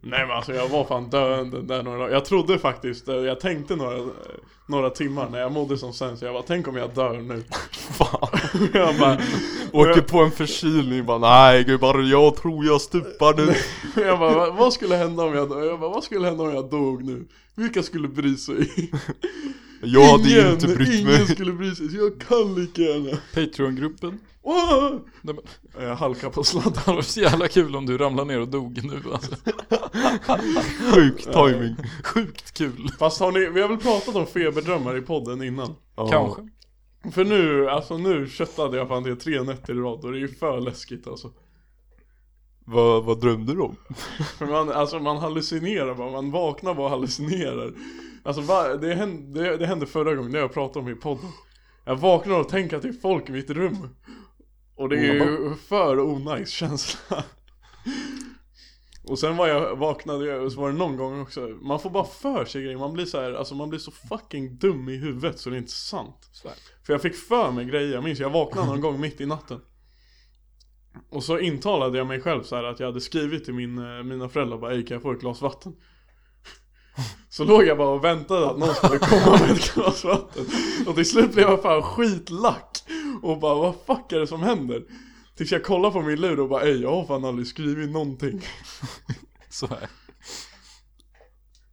Nej men alltså jag var fan döende där några Jag trodde faktiskt, eh, jag tänkte några, eh, några timmar när jag mådde som sämst Jag bara, tänk om jag dör nu [LAUGHS] Fan. Jag bara, Åker på en förkylning bara nej gud bara jag tror jag stupar nu. jag bara "Va- vad skulle hända om jag dog? Jag bara, vad skulle hända om jag dog nu? Vilka skulle bry sig? [LAUGHS] Jag hade ju inte brytt ingen mig. skulle bry sig, så jag kan lika gärna [LAUGHS] Patreon-gruppen. Åh! Nej, men, Jag halkar [LAUGHS] på det sladden hade varit så jävla kul om du ramlade ner och dog nu alltså. [LAUGHS] Sjuk timing. [LAUGHS] Sjukt kul. Fast har ni, vi har väl pratat om feberdrömmar i podden innan? Ja. Kanske. För nu, alltså nu köttade jag fan det tre nätter i rad och det är ju för läskigt alltså Vad, vad drömde du om? För man, alltså man hallucinerar bara, man vaknar bara och hallucinerar Alltså va, det, hände, det, det hände förra gången, det har jag pratat om i podden Jag vaknar och tänker att det är folk i mitt rum Och det är ju för onajs känsla Och sen var jag, vaknade jag, och så var det någon gång också Man får bara för sig grejer, man blir så här, alltså man blir så fucking dum i huvudet så det är inte sant För jag fick för mig grejer, jag minns jag vaknade någon gång mitt i natten Och så intalade jag mig själv så här att jag hade skrivit till min, eh, mina föräldrar bara Ey kan jag få ett glas vatten? [LAUGHS] Så låg jag bara och väntade att någon skulle komma med ett glas vatten Och till slut blev jag fan skitlack Och bara vad fuck är det som händer? Tills jag kollar på min lur och bara ey jag har fan aldrig skrivit någonting Så här.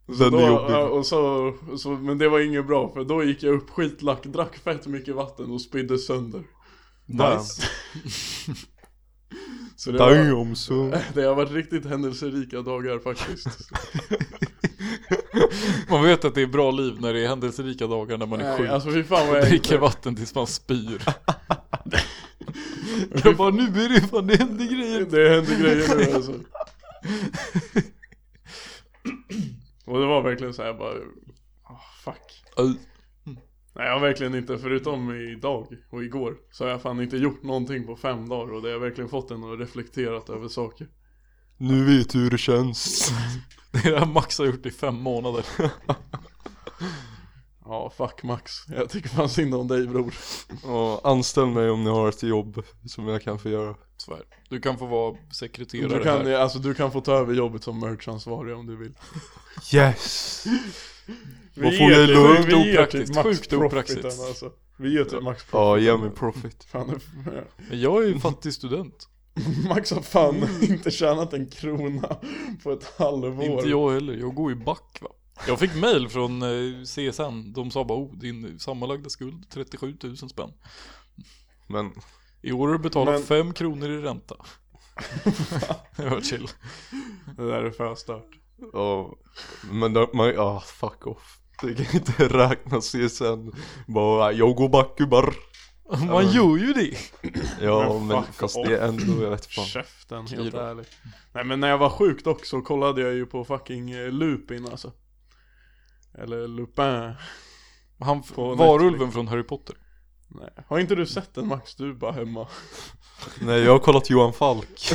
Den då, är jobbig. ja, och så, så, Men det var inget bra för då gick jag upp skitlack, drack fett mycket vatten och spydde sönder Nice. Så det, var, Damn son. [LAUGHS] det har varit riktigt händelserika [LAUGHS] dagar faktiskt Man vet att det är bra liv när det är händelserika dagar när man är Nej, sjuk. alltså fy fan vad jag Dricker inte, vatten tills man spyr. [LAUGHS] Jag bara nu är det fan det händer grejer. [LAUGHS] Det händer [LAUGHS] grejer nu alltså Och det var verkligen så här bara ah, Fuck Aj. Nej jag har verkligen inte, förutom idag och igår Så har jag fan inte gjort någonting på fem dagar Och det har verkligen fått en att reflekterat över saker Nu vet du hur det känns. [LAUGHS] Det har Max har gjort i fem månader. Ja fuck Max, jag tycker fan synd om dig bror Ja, anställ mig om ni har ett jobb som jag kan få göra. Så här. Du kan få vara sekreterare Du kan, här. alltså, du kan få ta över jobbet som merchansvarig om du vill Yes! Vi Vad får ger jag typ- lugnt? vi ger Opraktiskt, typ max sjukt profiten, opraktiskt. alltså. Vi ger typ max Ja, profiten ge mig profit. Fan, det- [LAUGHS] Men jag är ju en fattig student. Max har fan Mm. inte tjänat en krona på ett halvår Inte jag heller, jag går ju back va. Jag fick mail från eh, CSN, de sa bara oh din sammanlagda skuld 37 000 spänn. Men I år har du betalat Men- 5 kronor i ränta. [LAUGHS] det var chill. Det där är för stört Ja, men då, man, ja fuck off. Det kan inte räknas CSN. Bara, jag går back gubbar. Man gör ju det. Ja Men men, fuck fast off. det är ändå, jag vet fan. Käften, helt Kliro. ärligt Nej men när jag var sjuk dock så kollade jag ju på fucking eh, Lupin alltså Eller Lupin Han, På varulven från Harry Potter. Nej. Har inte du sett den Max? Du är bara hemma Nej jag har kollat Johan Falk.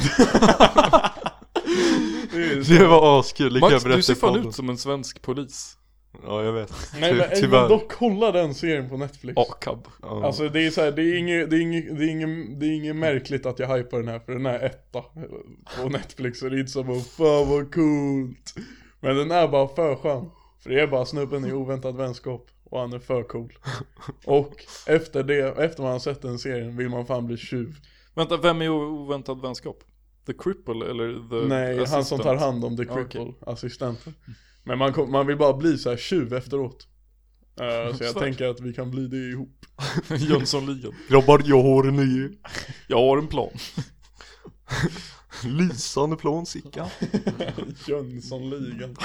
Det är [LAUGHS] ju så- Det var askul, det kan jag Max, berätta du ser i podden. fan ut som en svensk polis. Ja jag vet. Nej Ty- men ej, tyvärr. men dock kolla den serien på Netflix AKAB. Ja. Alltså det är så här, det är inget, det är inget, det är inget, det är inget märkligt att jag hypar den här för den här är etta på Netflix och det är inte som att fan vad coolt. Men den är bara för skön. För det är bara snubben i oväntad vänskap och han är för cool. Och efter det, efter man har sett den serien vill man fan bli tjuv. Vänta, vem är o- oväntad vänskap? The Cripple eller The Nej, han som Assistant? tar hand om The Ja, Uh, okej. Cripple, assistenten. Men man, kom, man vill bara bli så här tjuv efteråt. Eh, så jag Svart. tänker att vi kan bli det ihop. [LAUGHS] Jönssonligan. Grabbar jag har en ny Jag har en plan. lysande plan Sickan. [LAUGHS] Jönssonligan.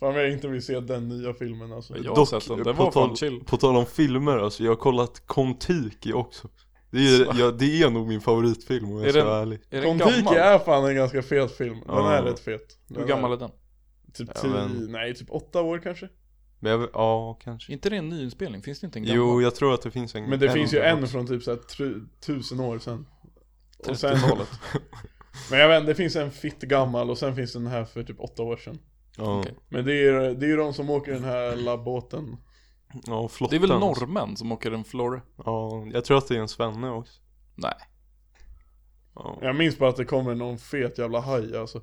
Fan vad jag inte vill se den nya filmen alltså. Jag har Dock, sett den, på den var fan tal- chill. På tal om filmer alltså, jag har kollat Kon-Tiki också. Det är, ja, det är nog min favoritfilm om jag Är ska den- vara ärlig. Är den gammal? Kon-Tiki är fan en ganska fet film. Den Ja. är rätt fet. Den Hur gammal är den? Mm, Typ Ja, tio, men- nej typ åtta år kanske. Men jag, ja kanske. inte det en nyinspelning? Finns det inte en gammal? Jo jag tror att det finns en Men det finns ju gammal. en från typ såhär tru- tusen år sedan. Och sen, [LAUGHS] 30-talet. men jag vet inte, det finns en fitt gammal och sen finns den här för typ åtta år sedan. Ja, Okej. Men det är det är ju de som åker den här labbåten. ja flottan. Det är väl norrmän som åker en Florre? Ja, jag tror att det är en svenne också. Nej. Ja. Jag minns bara att det kommer någon fet jävla haj alltså.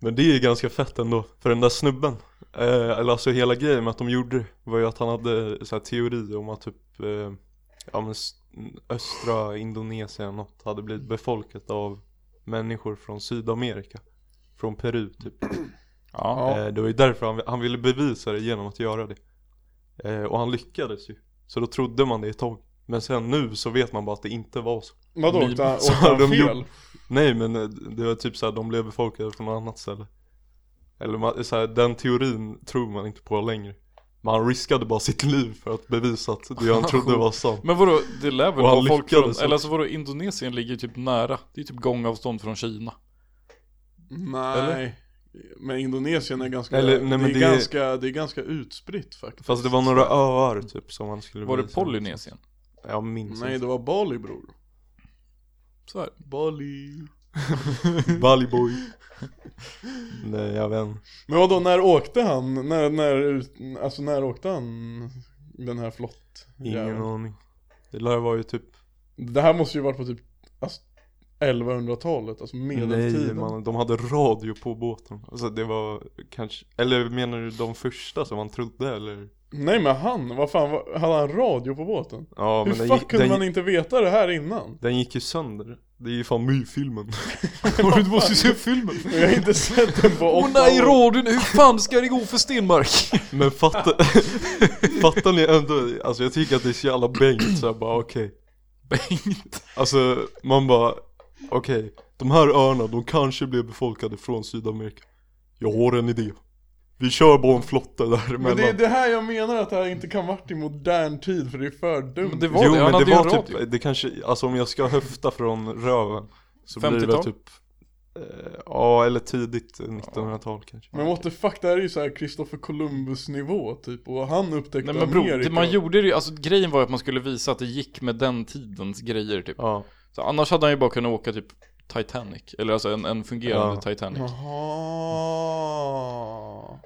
Men det är ju ganska fett ändå, för den där snubben. Eh, eller alltså hela grejen med att de gjorde det var ju att han hade så här teori om att typ eh, ja, men s- östra Indonesien något hade blivit befolkat av människor från Sydamerika. Från Peru typ. Ja. Eh, det var ju därför han, han ville bevisa det genom att göra det. Eh, och han lyckades ju. Så då trodde man det ett tag. Men sen nu så vet man bara att det inte var så. Vadå, Meme. [LAUGHS] åkte han, Så åkte han har de fel? gjort- Nej men eh, det var typ såhär, de blev befolkade från något annat ställe Eller man, så här, den teorin tror man inte på längre Men han riskade bara sitt liv för att bevisa att det han trodde var sant [LAUGHS] Men vadå, det lär väl Och han vara folk lyckades från, också. eller alltså vadå, Indonesien ligger ju typ nära. Det är typ gångavstånd från Kina. Nej. Eller? Men Indonesien är ganska, Eller, nej, det, men är det är- ganska det är ganska utspritt faktiskt. Fast det var några öar typ som han skulle Var det bevisa. Polynesien? Jag minns Nej, inte det var Bali bror. Så här. Bali. [LAUGHS] Bali boy Nej jag vet inte. Men vadå, när åkte han? När, när, ut- alltså när åkte han den här flott? ingen jäveln? aning Det lär vara ju typ Det här måste ju varit på typ, alltså 1100-talet, alltså Nej medeltiden. mannen, de hade radio på båten. Alltså det var kanske, eller menar du de första som man trodde eller? Nej men han, vad fan, vad- hade han radio på båten? Ja Hur men den, fuck gick- kunde den, man inte veta det här innan? den gick ju sönder. Det är ju fan myfilmen. [LAUGHS] Har du inte måste se filmen? Jag har inte sett [LAUGHS] den på åtta Åh nej, år. radion, hur fan ska det gå för Stenmark? Men fatta, [LAUGHS] fattar ni ändå, alltså jag tycker att det är så jävla bängt så jag bara okej. Bengt. Alltså man bara, okej, de här öarna de kanske blev befolkade från Sydamerika. Jag har en idé. Vi kör bara en flotta Men det är däremellan. det här jag menar att det här inte kan varit i modern tid för det är för dumt. Men det var det, han hade ju en radio. typ, det kanske, alltså om jag ska höfta från röven så blir det 50-tal? väl typ, eh, ja eller tidigt 1900-tal kanske. Men what the fuck, det här är ju så här Christopher Columbus nivå typ och han upptäckte Nej men bror, det Amerika. man gjorde det ju, alltså grejen var ju att man skulle visa att det gick med den tidens grejer typ. Ja, Så annars hade han ju bara kunnat åka typ Titanic, eller alltså en, en fungerande Ja. Titanic. Jaha.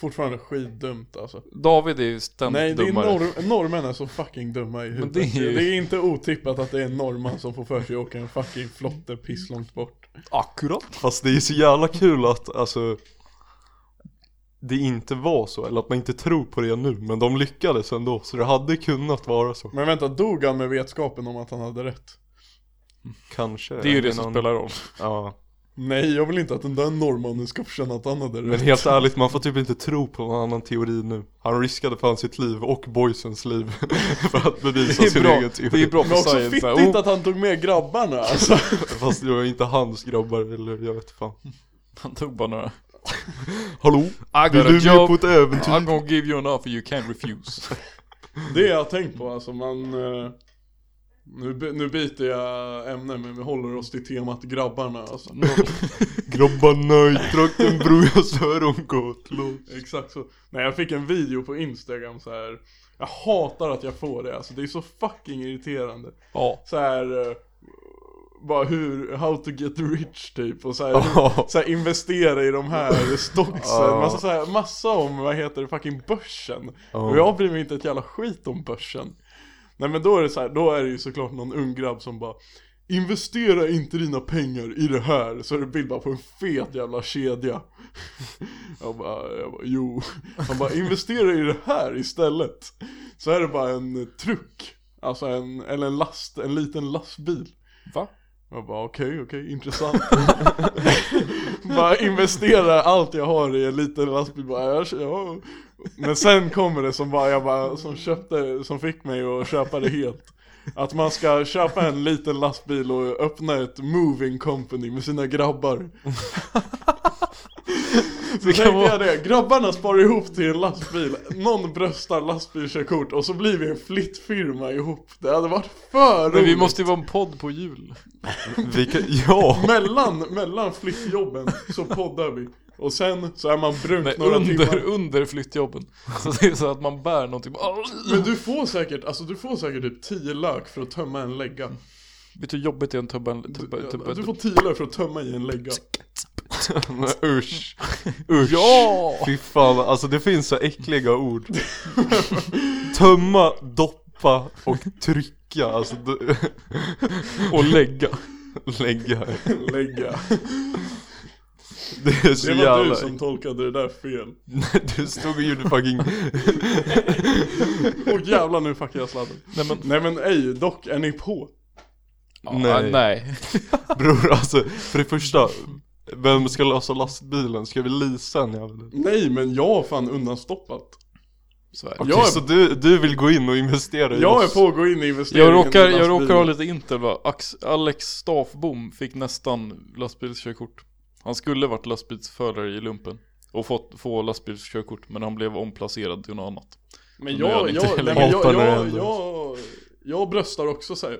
Fortfarande skitdumt alltså. David är ju ständigt Nej, det är dummare. norr, norrmän är så fucking dumma i huvudet. det Det är är, ju- inte otippat att det är en norrman som får för sig att åka en fucking flotte pisslångt bort. Akkurat. fast det är så jävla kul att alltså det inte var så, eller att man inte tror på det nu, men de lyckades ändå, så det hade kunnat vara så. Men vänta, dog han med vetskapen om att han hade rätt? Kanske. Det är ju jag det menar, som spelar roll. Ja. Nej, jag vill inte att den där norrmannen ska få känna att han hade Men rätt. helt ärligt, man får typ inte tro på någon annan teori nu. Han riskade fan sitt liv och boysens liv [LAUGHS] för att bevisa Det är sin bra. egen teori. Det är bra för Men också science. så här, fittigt oh, att han tog med grabbarna alltså. Fast det var inte hans grabbar eller jag vet fan. Han tog bara några. Hallå? I Vill got a du med job, på ett äventyr? I'm gonna give you an offer you can't refuse. [LAUGHS] Det jag har tänkt på alltså, man... eh, Nu, by- nu byter jag ämne men vi håller oss till temat grabbarna alltså. Grabbarna i trakten bror jag svär om gott låt. Exakt så. Nej jag fick en video på Instagram så här. Jag hatar att jag får det alltså, det är så fucking irriterande. ja. Så här eh, bara hur, how to get rich typ och så här, Ja. [LAUGHS] så här investera i de här stocksen, [LAUGHS] Ja. massa, så här, massa om vad heter det, fucking börsen. Ja. Och jag bryr mig inte ett jävla skit om börsen. Nej men då är det så här, då är det ju såklart någon ung grabb som bara Investera inte dina pengar i det här, så är det bild bara på en fet jävla kedja. [LAUGHS] Jag bara, jag bara jo. Han bara, investera i det här istället. Så är det bara en truck, alltså en, eller en last, en liten lastbil. Va? Jag bara okej, okej, intressant. [LAUGHS] bara investera allt jag har i en liten lastbil. Bara, jag, ja. Men sen kommer det som bara, jag bara, som köpte, som fick mig att köpa det helt. Att man ska köpa en liten lastbil och öppna ett moving company med [LAUGHS] sina grabbar. Så tänkte jag det, grabbarna sparar ihop till en lastbil, någon bröstar lastbilskörkort och så blir vi en flyttfirma ihop. Det hade varit för Men vi roligt. måste ju vara en podd på jul. Vilka, ja! Mellan, mellan flyttjobben så poddar vi Och sen så är man brunt Nej, några under, timmar under flyttjobben. Så det är så att man bär någonting. Men du får säkert, alltså du får säkert typ 10 lök för att tömma en lägga Vet du hur jobbigt det är en tubba? tubba, du, tubba, du får 10 lök för att tömma i en lägga Men [LAUGHS] usch. Usch. Ja! Fy fan, alltså det finns så äckliga [LAUGHS] ord. Tömma, doppa och trycka. Alltså, [LAUGHS] d- Och lägga. lägga. Lägga Det är så Det var jävla... du som tolkade det där fel [LAUGHS] Du stod och gjorde fucking... [LAUGHS] Och jävlar nu fuckar jag sladden Nej men, Nej men ej, dock är ni på? nej. Nej. nej. Bror alltså, för det första. Vem ska lösa lastbilen? Ska vi leasa en jävel? Nej men jag har fan undanstoppat Så är det. Jag Jag är- Så du, du vill gå in och investera i Jag är oss? på att gå in i investeringen Jag råkar, i jag råkar ha lastbilen. lite intel va? Ax, Alex Stafbom fick nästan lastbilskörkort. Han skulle varit lastbilsförare i lumpen. Och fått få lastbilskörkort men han blev omplacerad till något annat. Men Nu gör jag, ni jag, inte jag, heller. nej, men jag, Hatar när det jag, händer. jag, jag bröstar också såhär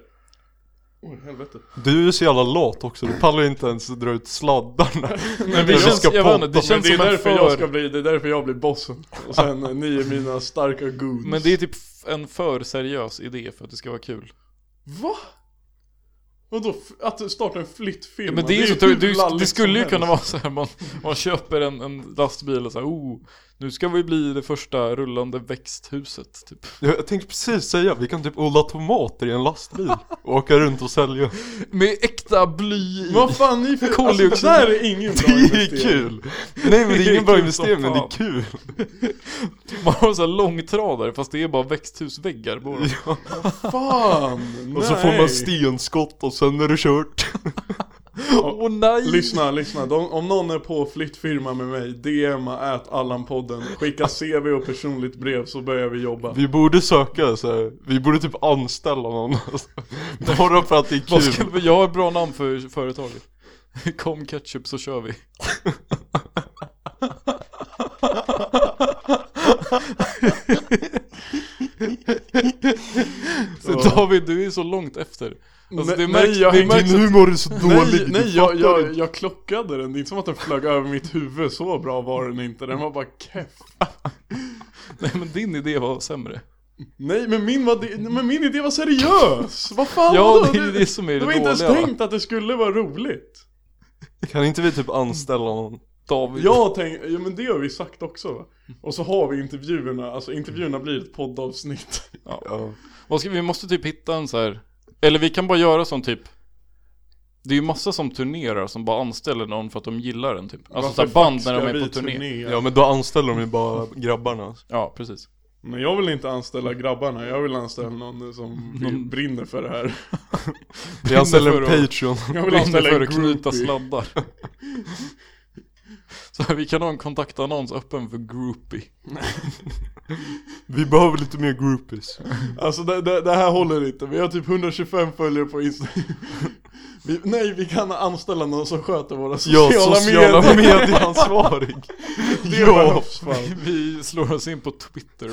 Oj helvete Du är så jävla lat också, du pallar inte ens dra ut sladdarna. [LAUGHS] Men det vi känns- känns, ska jag vet inte, det podda, Men känns det är, som en därför jag ska för... bli, det är därför jag blir bossen. Och sen eh, ni är mina starka goons. Men det är typ f- en för seriös idé för att det ska vara kul. Va? Och då att starta en flyttfirma? Ja, men det, är ju så, du, hur du, lalligt det som skulle ju helst. kunna vara så här, man, man köper en, en lastbil och så här, oh, nu ska vi bli det första rullande växthuset typ. Jag, jag tänkte precis säga, vi kan typ odla tomater i en [LAUGHS] lastbil och åka runt och sälja. Med äkta bly i. Vad [LAUGHS] fan ni för... Alltså, Koldioxid. det där är ingen Det [LAUGHS] bra är investering. kul! Nej men det är ingen bra kul som investering men det är fan. kul. Man har så här långtradare fast det är bara växthusväggar på dem. [LAUGHS] Fan! Och så nej. får man stenskott och sen är det kört. Åh nej! Lyssna, lyssna. De, om någon är på flyttfirma med mig, DMa ät Allan-podden, skicka Alltså- CV och personligt brev så börjar vi jobba. Vi borde söka så här. vi borde typ anställa [LAUGHS] någon alltså. Bara för att det är Vad kul. skulle vi, jag har ett bra namn för företaget. [LAUGHS] Kom ketchup så [LAUGHS] kör vi. Så David, du är så långt efter. Alltså, det Nej, märks- nej, jag det hängde märks Din humor är så dålig. Nej, nej jag, jag, jag klockade den. Det är inte som att den flög över mitt huvud. Så bra var den inte. Den var bara keff. Nej men din idé var sämre. Nej, men min, var, det- men min idé var seriös. Vad fan Ja, vadå? det är det som är det Det var inte ens dåliga. tänkt att det skulle vara roligt. Kan inte vi typ anställa någon? David. Jag har tänkt, ja men det har vi sagt också va? Och så har vi intervjuerna, alltså intervjuerna blir ett poddavsnitt. Ja. Vad ska, vi måste typ hitta en så här. Eller vi kan bara göra som typ. Det är ju massa som turnerar som bara anställer någon för att de gillar den typ. Alltså så här band när de Ska är vi på turné. ja men då anställer de ju bara [LAUGHS] grabbarna. Ja, precis. Men jag vill inte anställa grabbarna, jag vill anställa [LAUGHS] någon som Någon- brinner för det här. Vi anställer en för att- Patreon. Jag vill Brinner anställa för en att knyta groupie. [LAUGHS] sladdar. Så här, vi kan ha en kontaktannons öppen för groupie. Vi behöver lite mer groupies. Alltså det, det, det här håller inte, vi har typ 125 följare på Instagram. [LAUGHS] Vi, nej, vi kan anställa någon som sköter våra Ja, sociala, sociala medier. [LAUGHS] medieansvarig. [LAUGHS] Det ja. behövs fan. Vi slår oss in på Twitter.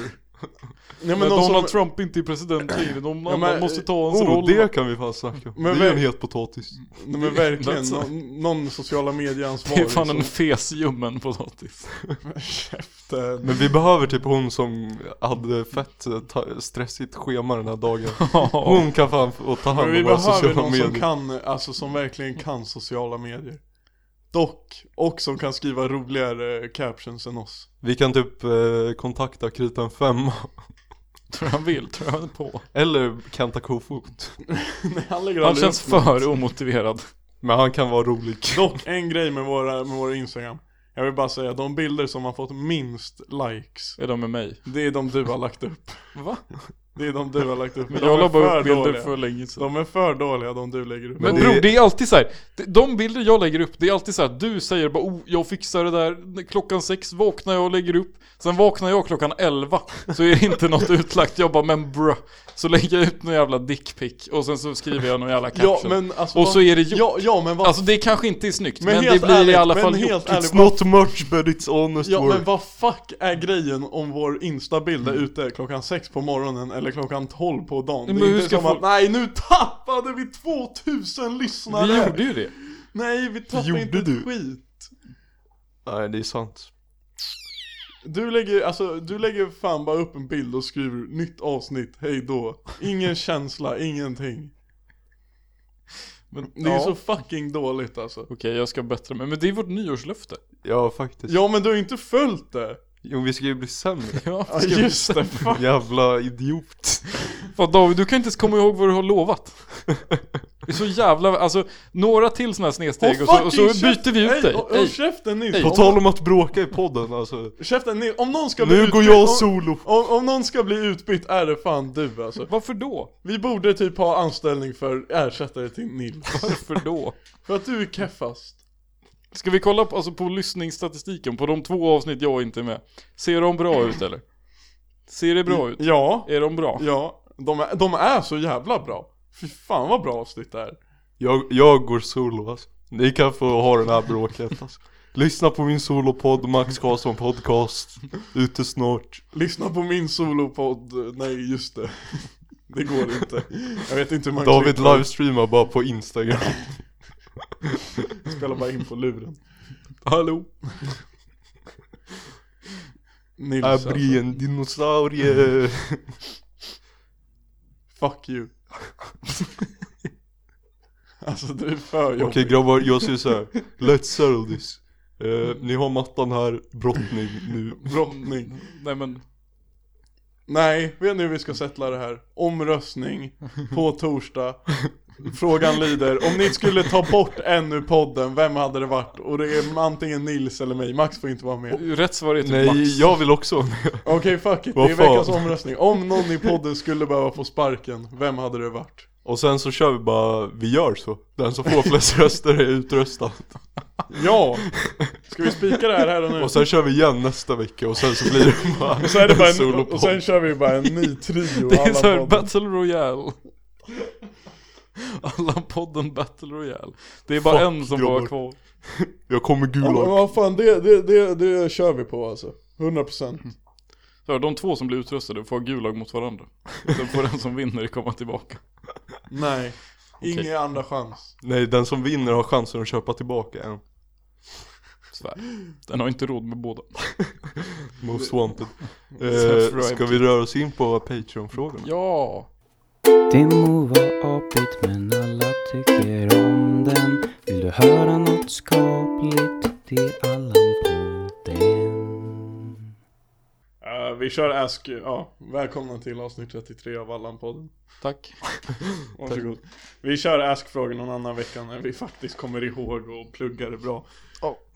Nej, Men någon som- Donald Trump inte är president längre. De men- man måste ta hans Oh, roll. det kan vi fan snacka om. Men det är vem- en het potatis. Nej men verkligen, Alltså. någon, någon sociala liksom. medieansvarig Det är fan en fesljummen potatis. som... Käften. Men vi behöver typ hon som hade fett eh, ta- stressigt schema den här dagen. [LAUGHS] Ja. Hon kan fan få ta Men hand vi om våra behöver sociala någon som medier. kan, alltså som verkligen kan sociala medier Dock, och som kan skriva roligare eh, captions än oss [LAUGHS] Vi kan typ eh, kontakta Krytan 5 Tror han vill, tror han är på. [LAUGHS] eller Kenta Kofot. Nej, han lägger Han aldrig känns upp något. för omotiverad. Men han kan vara rolig. Dock, en grej med våra, med våra Instagram Jag vill bara säga, de bilder som har fått minst likes Är de med mig? Det är de du har lagt upp Va? Det är de du har lagt upp Men De jag är la bara upp för bilder dåliga. för länge sedan. De är för dåliga de du lägger upp Men det- bror, det är alltid så här. de- De bilder jag lägger upp, det är alltid så här. Du säger bara oh, jag fixar det där klockan sex, vaknar jag och lägger upp. Sen vaknar jag klockan elva, så är det inte något [LAUGHS] utlagt. Jag bara men bruh. Så lägger jag ut någon jävla dickpic och sen så skriver jag någon jävla caption. Ja men alltså och vad- så är det gjort. Ja, ja men vad Alltså det kanske inte är snyggt, men, Men det helt blir i ärligt, alla men fall helt gjort. ärligt, [LAUGHS] It's not much but it's honest Ja work. men vad fuck är grejen om vår instabild är ute klockan sex på morgonen eller klockan 12 på dagen? Men det är hur inte ska som folk- att nej nu tappade vi 2000 lyssnare! Vi gjorde ju det. Nej vi tappade Gjorde inte ett du? skit! Nej det är sant. Du lägger, alltså, du lägger fan bara upp en bild och skriver nytt avsnitt, hej då. [LAUGHS] Ingen känsla, ingenting. Men, Det är ja. så fucking dåligt alltså. Okej, jag ska bättra mig. Men det är vårt nyårslöfte. [LAUGHS] Ja faktiskt. Ja men du har inte följt det! Jo vi ska ju bli [LAUGHS] sämre. Ja, Ja ska vi- just det, fuck. Jävla idiot. Fan David, du kan inte ens komma ihåg vad du har lovat. Det är så jävla, alltså några till sådana här snedsteg och, så, och så fucking käft- byter vi ut Hej, oh, dig. och- och Hej. käften Nils! Hej. På tal om att bråka i podden alltså. Käften Nils, om någon ska bli Nu går utbytt- jag om- solo. Om, om någon ska bli utbytt är det fan du alltså. Varför då? Vi borde typ ha anställning för ersättare till Nils. Varför då? För att du är keffast. Ska vi kolla på, alltså, på lyssningsstatistiken på de två avsnitt jag inte är med? Ser de bra ut eller? Ser det bra ut? Ja, Är de bra? ja. De är, de är så jävla bra. Fy fan vad bra avsnitt det är. Jag, jag går solo alltså. Ni kan få ha den här bråket alltså. Lyssna på min solopodd Max Karlsson podcast. Ute snart. Lyssna på min solopodd. Nej, just [LAUGHS] det. Det går inte. Jag vet inte hur man David klipper. livestreamar bara [LAUGHS] på Instagram. Jag spelar bara in på luren. Hallå? Nils Jag alltså. blir [LAUGHS] en dinosaurie. Fuck you. [LAUGHS] Alltså du är för Okej jobbig. grabbar, jag säger såhär. Let's settle this. Eh, ni har mattan här, brottning nu. Brottning. Nej men, Nej, vet ni hur vi ska settla det här? Omröstning på torsdag. Frågan lyder, om ni skulle ta bort en ur podden, vem hade det varit? Och det är antingen Nils eller mig, Max får inte vara med. rätt svar är typ Nej, max. jag vill också. Okej, fuck it, det Vad är veckans fan? omröstning. Om någon i podden skulle behöva få sparken, vem hade det varit? Och sen så kör vi bara, vi gör så. Den som får [LAUGHS] flest röster är utröstad. Ja! Ska vi spika det här här och nu? Och sen kör vi igen nästa vecka och sen så blir det bara Och så är det bara en, solopodd. och sen kör vi bara en ny trio Det är alla såhär poddar. battle royale. Alla podden battle royale. Det är bara Fuck, en som får vara grabbar. kvar. Jag kommer Ja, men gulag. vad fan, det, det, det, det kör vi på alltså. 100%. Så de två som blir utrustade får ha gulag mot varandra. Sen får den som vinner komma tillbaka. Nej. Ingen andra chans. Nej, den som vinner har chansen att köpa tillbaka en. Svär. Den har inte råd med båda. Most [LAUGHS] wanted. Eh, Subscribe. ska vi röra oss in på Patreon-frågorna? Ja! Det må vara apigt men alla tycker om den Vill du höra något skapligt? Det är Allan på den Eh, vi kör Ask, ja, välkomna till avsnitt 33 av Allan-podden. Tack. Varsågod. Vi kör Ask-frågor någon annan vecka när vi faktiskt kommer ihåg och pluggar det bra.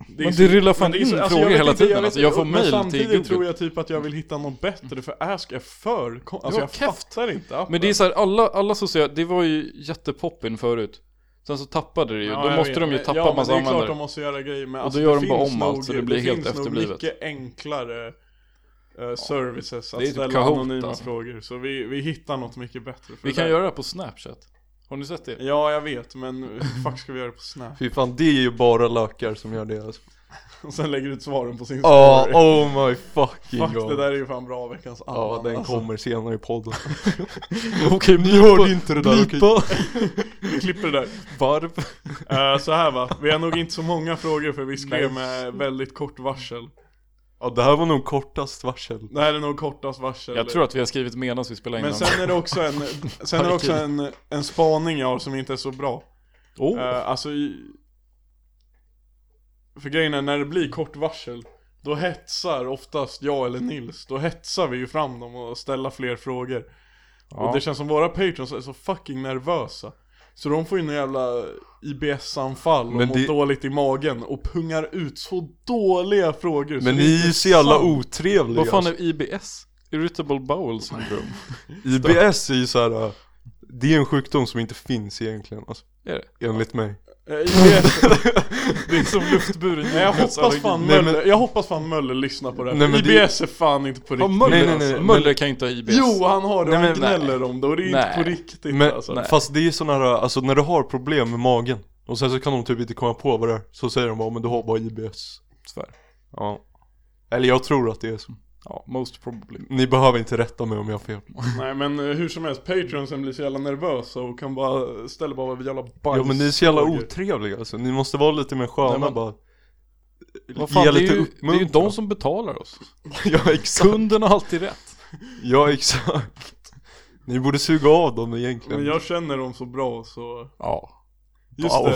Det Men så- det rullar fan men det är så- in alltså, jag frågor vet hela inte, tiden. vet alltså, inte, jag får men mail till samtidigt Google. tror jag typ att jag vill hitta något bättre för Ask är för kon- Alltså Ja, jag keft. fattar inte appen. Men det är så här, alla, alla sociala, det var ju jättepoppin förut. Sen så tappade det ju, Ja, då jag måste vet. de ju tappa ja, massa men det är klart användare. de måste göra grejer med Och då gör det de bara finns om allt, så det blir helt finns efterblivet. nog mycket enklare eh, services att Det är typ ställa Kahoot, anonyma alltså. frågor. Så vi, vi hittar något mycket bättre för Vi det kan där. göra det här på Snapchat. Har ni sett det? Ja, jag vet, men [LAUGHS] hur fuck ska vi göra det på Snap? [LAUGHS] Fy fan, det är ju bara lökar som gör det alltså. Och sen lägger ut svaren på sin Ja, story. oh my fucking Fuck, god. det där är ju fan bra veckans Alltså, annan. Ja, den kommer senare i [LAUGHS] podden. Okej, Alltså. Ni hörde inte det där, okej? Vi klipper det där. Varv. Eh, så här va, vi har nog inte så många frågor för vi skrev med väldigt kort varsel. Ja, det här var nog kortast varsel. Det här är nog kortast varsel. Jag tror att vi har skrivit medan vi spelar in Men den. sen är det också [LAUGHS] en, sen är det också en, en spaning jag har som inte är så bra. Oh. Eh, alltså i... För grejen är, när det blir kort varsel, då hetsar oftast jag eller Nils, då hetsar vi ju fram dem och ställer fler frågor. Och det känns som våra patrons är så fucking nervösa. Så de får ju en jävla IBS-anfall och Men mår det- dåligt i magen och pungar ut så dåliga frågor så Men det ni är inte ju så jävla sant. otrevliga. Vad fan är IBS? Irritable Bowel Syndrome? IBS är ju såhär, äh, det är en sjukdom som inte finns egentligen alltså, Är det? enligt mig. Eh, IBS, [LAUGHS] Det är som luftburen nej, [LAUGHS] jag, hoppas fan Alltså, Nej, men- Möller, jag hoppas fan Möller lyssnar på det här. Nej, men det- IBS är fan inte på riktigt Möller- Nej, nej, nej. alltså. Möller kan ju inte ha IBS. Jo, han har det och Nej, men han nej. gnäller om det och det är inte Nej. på riktigt Men, alltså. fast det är sån här, alltså när du har problem med magen och sen så kan de typ inte komma på vad det är, så säger de bara men du har bara IBS. Svär. Ja. Eller jag tror att det är så. Ja, most probably. Ni behöver inte rätta mig om jag har fel. Nej men eh, hur som helst, patronsen blir så jävla nervösa och kan bara ställa bara vad jävla bajs Ja men ni är så jävla frågor. otrevliga alltså, ni måste vara lite mer sköna Nej, men- bara. Vad fan, Ge det, är lite ju, det är ju uppmuntran. de som betalar oss. [LAUGHS] Ja exakt. Kunden har alltid rätt. Ja exakt. Ni borde suga av dem egentligen. Men jag känner dem så bra så Ja. Just Wow.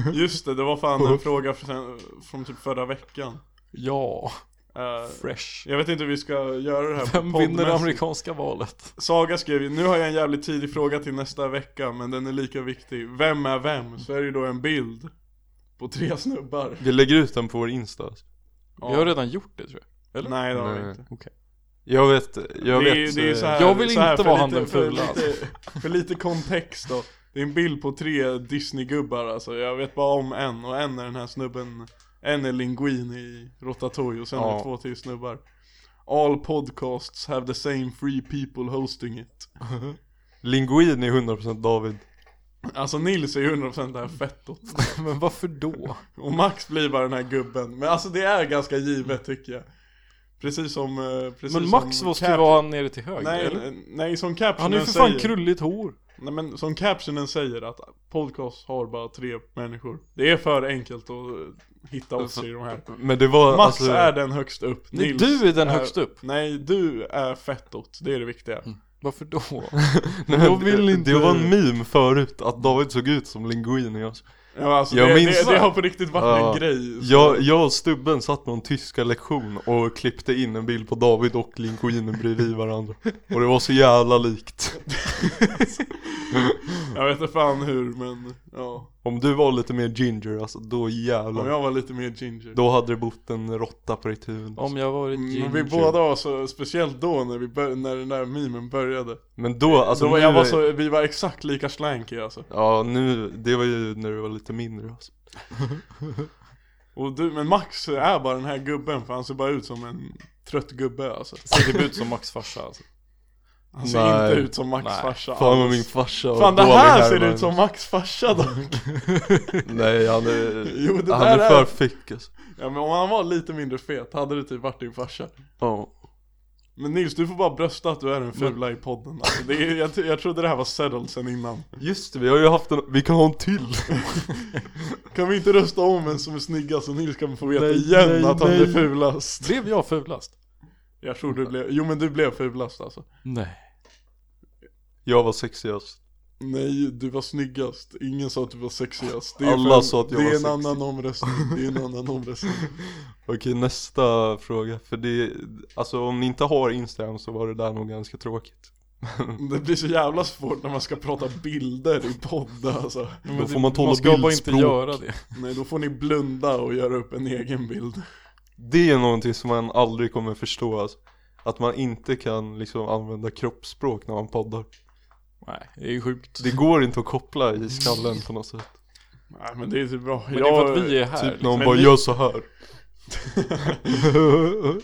[LAUGHS] det, just det, det var fan en fråga från, från typ förra veckan Ja. Eh, Fresh. Jag vet inte hur vi ska göra det här Vem på vinner det poddmässigt. amerikanska valet? Saga skrev ju, nu har jag en jävligt tidig fråga till nästa vecka men den är lika viktig Vem är vem? Så är det ju då en bild på tre snubbar Vi lägger ut den på vår insta. alltså. Vi har redan gjort det tror jag. Eller? Nej det har vi Nej. inte Jag vet, jag det är, ju- vet. det är eh, så här, jag vill så här, inte för vara han lite- den alltså. fula, för lite, för lite kontext då Det är en bild på tre Disney-gubbar alltså, jag vet bara om en och en är den här snubben En är Linguini i Rotatouille och sen är det Ja. två till snubbar All podcasts have the same free people hosting it Linguin eh, är 100% David. Alltså Nils är ju 100% det här fettot Men varför då? Och Max blir bara den här gubben, men alltså det är ganska givet tycker jag Precis som, eh, precis Men Max som måste cap- ju vara han nere till höger, eller? Nej, nej som captionen Han är ju för fan säger. krulligt hår. Nej men som captionen säger att podcast har bara tre människor Det är för enkelt att eh, hitta oss i de här Men det var Max alltså, är den högst upp, Nej, Nils du är den högst upp. Mm. Nej, du är fettot, det är det viktiga Varför då? Nej, men Jag vill det, inte- det var en meme förut att David såg ut som linguini alltså. Ja, men alltså, Jag det, minns- det, det har på riktigt varit Ja. en grej jag, jag och Stubben satt någon tyska lektion och klippte in en bild på David och linguini bredvid varandra Och det var så jävla likt Jag vet inte fan hur men ja Om du var lite mer ginger alltså, då Om jävlar jag var lite mer ginger Då hade det bott en råtta på ditt huvud Om jag varit Men ginger. Mm, vi båda var så, speciellt då när, vi bör, när den där memen började Men då, alltså Då var nu jag var är- så, vi var exakt lika slanky alltså Ja nu, det var ju när du var lite mindre alltså. Och du, men Max är bara den här gubben för han ser bara ut som en trött gubbe alltså Ser typ ut som Max farsa alltså. Han ser Nej. inte ut som Max Nej. farsa Fan vad alls. min farsa var alltså. Fan det dålig här ser härman. ut som Max farsa då Nej han är, Jo, det han där är är- för fick alltså. Ja men om han var lite mindre fet hade det typ varit din farsa Ja. Men Nils du får bara brösta att du är den fula i podden alltså, det är, jag, jag trodde det här var settled sen innan Just det, vi har ju haft en, vi kan ha en till! Kan vi inte rösta om vem som är snyggast så Nils kan få veta Nej, igen nej, att han nej. är fulast? Blev jag fulast? Jag tror du blev, jo men du blev fulast alltså Nej. Jag var sexigast. Nej, du var snyggast, ingen sa att du var sexigast det Alla fan- sa att jag Det var är en sexig. annan omröstning, det är [LAUGHS] en annan omröstning Okej nästa fråga, för det, alltså om ni inte har Instagram så var det där nog ganska tråkigt. Det blir så jävla svårt när man ska prata bilder i podd alltså Då får man tåla Man ska bara inte bildspråk. göra det. Nej, då får ni blunda och göra upp en egen bild Det är någonting som man aldrig kommer förstå alltså. Att man inte kan liksom använda kroppsspråk när man poddar. Nej, det är ju sjukt. Det går inte att koppla i skallen på något sätt. Nej men det är typ bra Men det är för att vi är [LAUGHS] här. Typ liksom. någon men bara det- gör så här.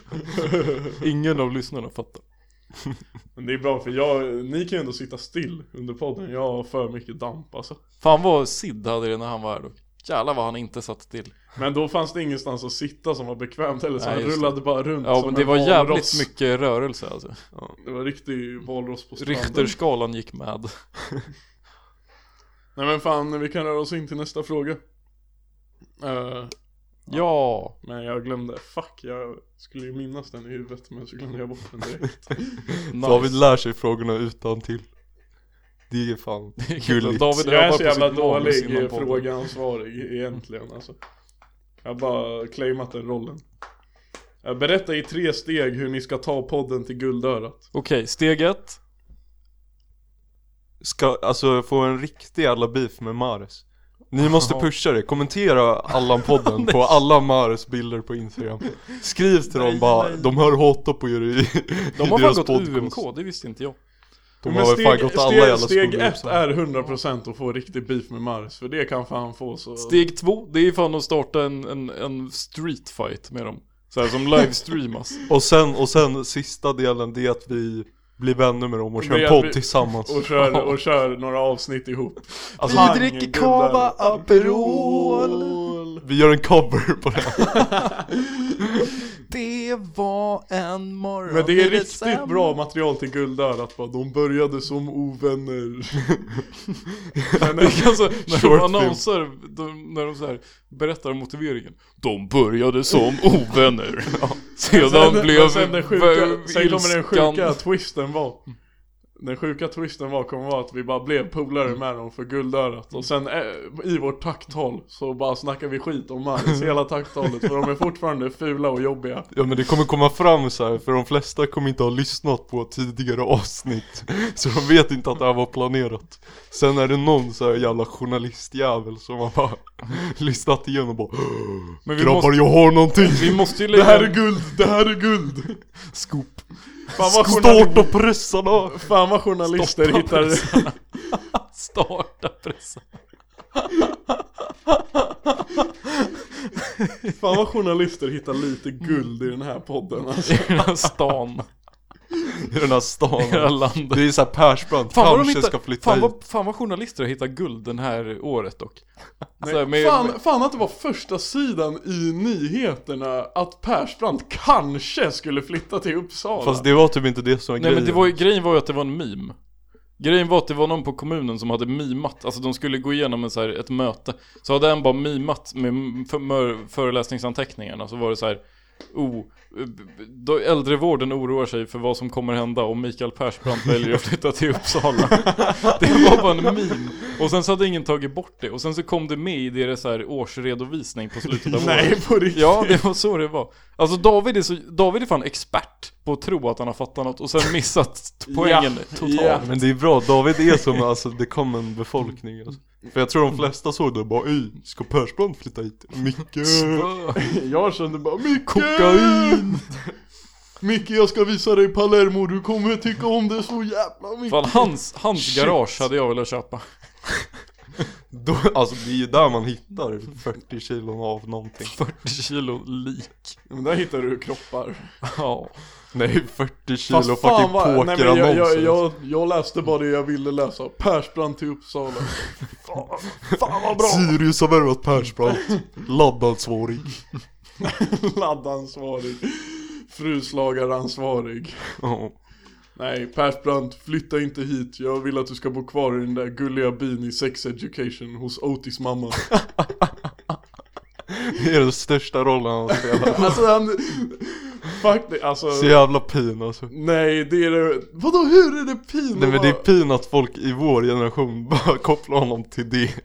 [LAUGHS] Ingen av lyssnarna fattar. Men det är bra för jag, ni kan ju ändå sitta still under podden, jag har för mycket damp alltså Fan vad Sid hade det när han var här då. Jävlar vad han inte satt still. Men då fanns det ingenstans att sitta som var bekvämt heller så Nej, han just rullade bara runt Ja som men det en var jävligt valross. mycket rörelse alltså. Det var riktig valross på stranden Richterskalan gick med. Nej men fan, vi kan röra oss in till nästa fråga Eh, Ja. Men jag glömde, fuck jag skulle ju minnas den i huvudet men så glömde jag bort den [LAUGHS] direkt David Nice. lär sig frågorna utan till. Det är fan gulligt. David Jag är övar så på jävla sitt manus innan dålig podden. frågeansvarig egentligen alltså Jag har bara claimat den rollen Eh, Berätta i tre steg hur ni ska ta podden till guldörat Okej, steg ett. Ska, alltså få en riktig jävla beef med Mares Ni måste pusha det, kommentera [LAUGHS] Allan-podden på alla Mares bilder på Instagram Skriv till dem bara, de hör hot på er i, De i har fan deras gått podcast UMK, det visste inte jag. De Men har väl fan gått alla jävla steg skolor ett så. är 100% att få riktig beef med Mars För det kan fan få så Steg två, det är fan att starta en, en, en street fight med dem. Så här som livestreamas. Och sen, och sen sista delen, det är att vi blir vänner med dem och kör Det är en att podd vi- tillsammans och, kör, och kör några avsnitt ihop Alltså, Fan, vi, gubben. Aperol. vi gör en cover på det här. Det var en morgon Men det är riktigt bra material till guldörat bara, De började som ovänner Det är alltså, när de Short film. annonser, de, när de så här berättar om motiveringen. De började som ovänner. Sedan Men blev [LAUGHS] sen, vä- den sjuka, sen kommer den ilskan- sjuka twisten vara Den sjuka twisten var kommer vara att vi bara blev polare med dem för guldörat Och sen eh, i vårt tacktal så bara snackar vi skit om Maris [LAUGHS] hela tacktalet För de är fortfarande fula och jobbiga Ja men det kommer komma fram så här, för de flesta kommer inte ha lyssnat på tidigare avsnitt [LAUGHS] Så de vet inte att det här var planerat Sen är det någon så här jävla journalistjävel som har bara [LAUGHS] lyssnat igen och bara Men vi Grabbar måste, jag har någonting! [LAUGHS] vi måste ju Det här lägga är guld, det här är guld! scoop. Fan vad, journal- Starta pressarna! fan vad journalister Stoppa hittar Starta [LAUGHS] pressen. Fan vad journalister hittar lite guld i den här podden alltså. I den här [LAUGHS] stan, [LAUGHS] I den här [LAUGHS] i det här stan landet. Det är såhär Persbrandt, Fan vad, de kanske hittar, ska flytta fan, hit vad, fan vad journalister har hittat guld den här året dock. Så här, med, fan, fan att det var första sidan i nyheterna att Persbrandt kanske skulle flytta till Uppsala Fast det var typ inte det som var nej grejen men det var, ju- grejen var ju att det var en meme. Grejen var att det var någon på kommunen som hade mimat, alltså de skulle gå igenom en, så här, ett möte. Så hade en bara mimat med m- för, mör- föreläsningsanteckningarna, så var det så här. O. Då äldrevården oroar sig för vad som kommer hända om Mikael Persbrandt väljer att flytta till Uppsala. [LAUGHS] Det var bara en meme. Och sen så hade ingen tagit bort det. Och sen så kom det med i deras så här årsredovisning på slutet av året. Nej på [LAUGHS] riktigt. Ja, det var så det var. Alltså David är, så, David är fan expert på att tro att han har fattat något och sen [LAUGHS] missat poängen totalt. ja. Men det är bra, David är som alltså the common befolkning alltså. För jag tror de flesta såg det och bara Ey, ska Persbrandt flytta hit? Micke! Mm. [LAUGHS] Jag kände bara Micke! Kokain! Micke jag ska visa dig Palermo, du kommer tycka om det så jävla mycket. Fan, hans, hans garage hade jag velat köpa. Då, alltså det är ju där man hittar 40 kilon av någonting 40 kilo lik. Men där hittar du kroppar. Ja. Nej 40 kilo typ fucking nej, men jag, jag, pokerannonser jag, jag läste bara det jag ville läsa. Persbrandt till Uppsala. fan, fan vad bra! [LAUGHS] Sirius har värvat [LAUGHS] Persbrandt, laddansvarig Laddansvarig. Fruslagaransvarig. Ja. Nej, Persbrandt, flytta inte hit. Jag vill att du ska bo kvar i den där gulliga bin i sex education hos Otis [LAUGHS] mamma. Det är den största rollen han har [LAUGHS] spelat alltså han... Fuck det, alltså... Så jävla pin alltså Nej, det är det... Vadå, hur är det pin? Nej men det är pin att folk i vår generation [LAUGHS] bara kopplar honom till det [LAUGHS]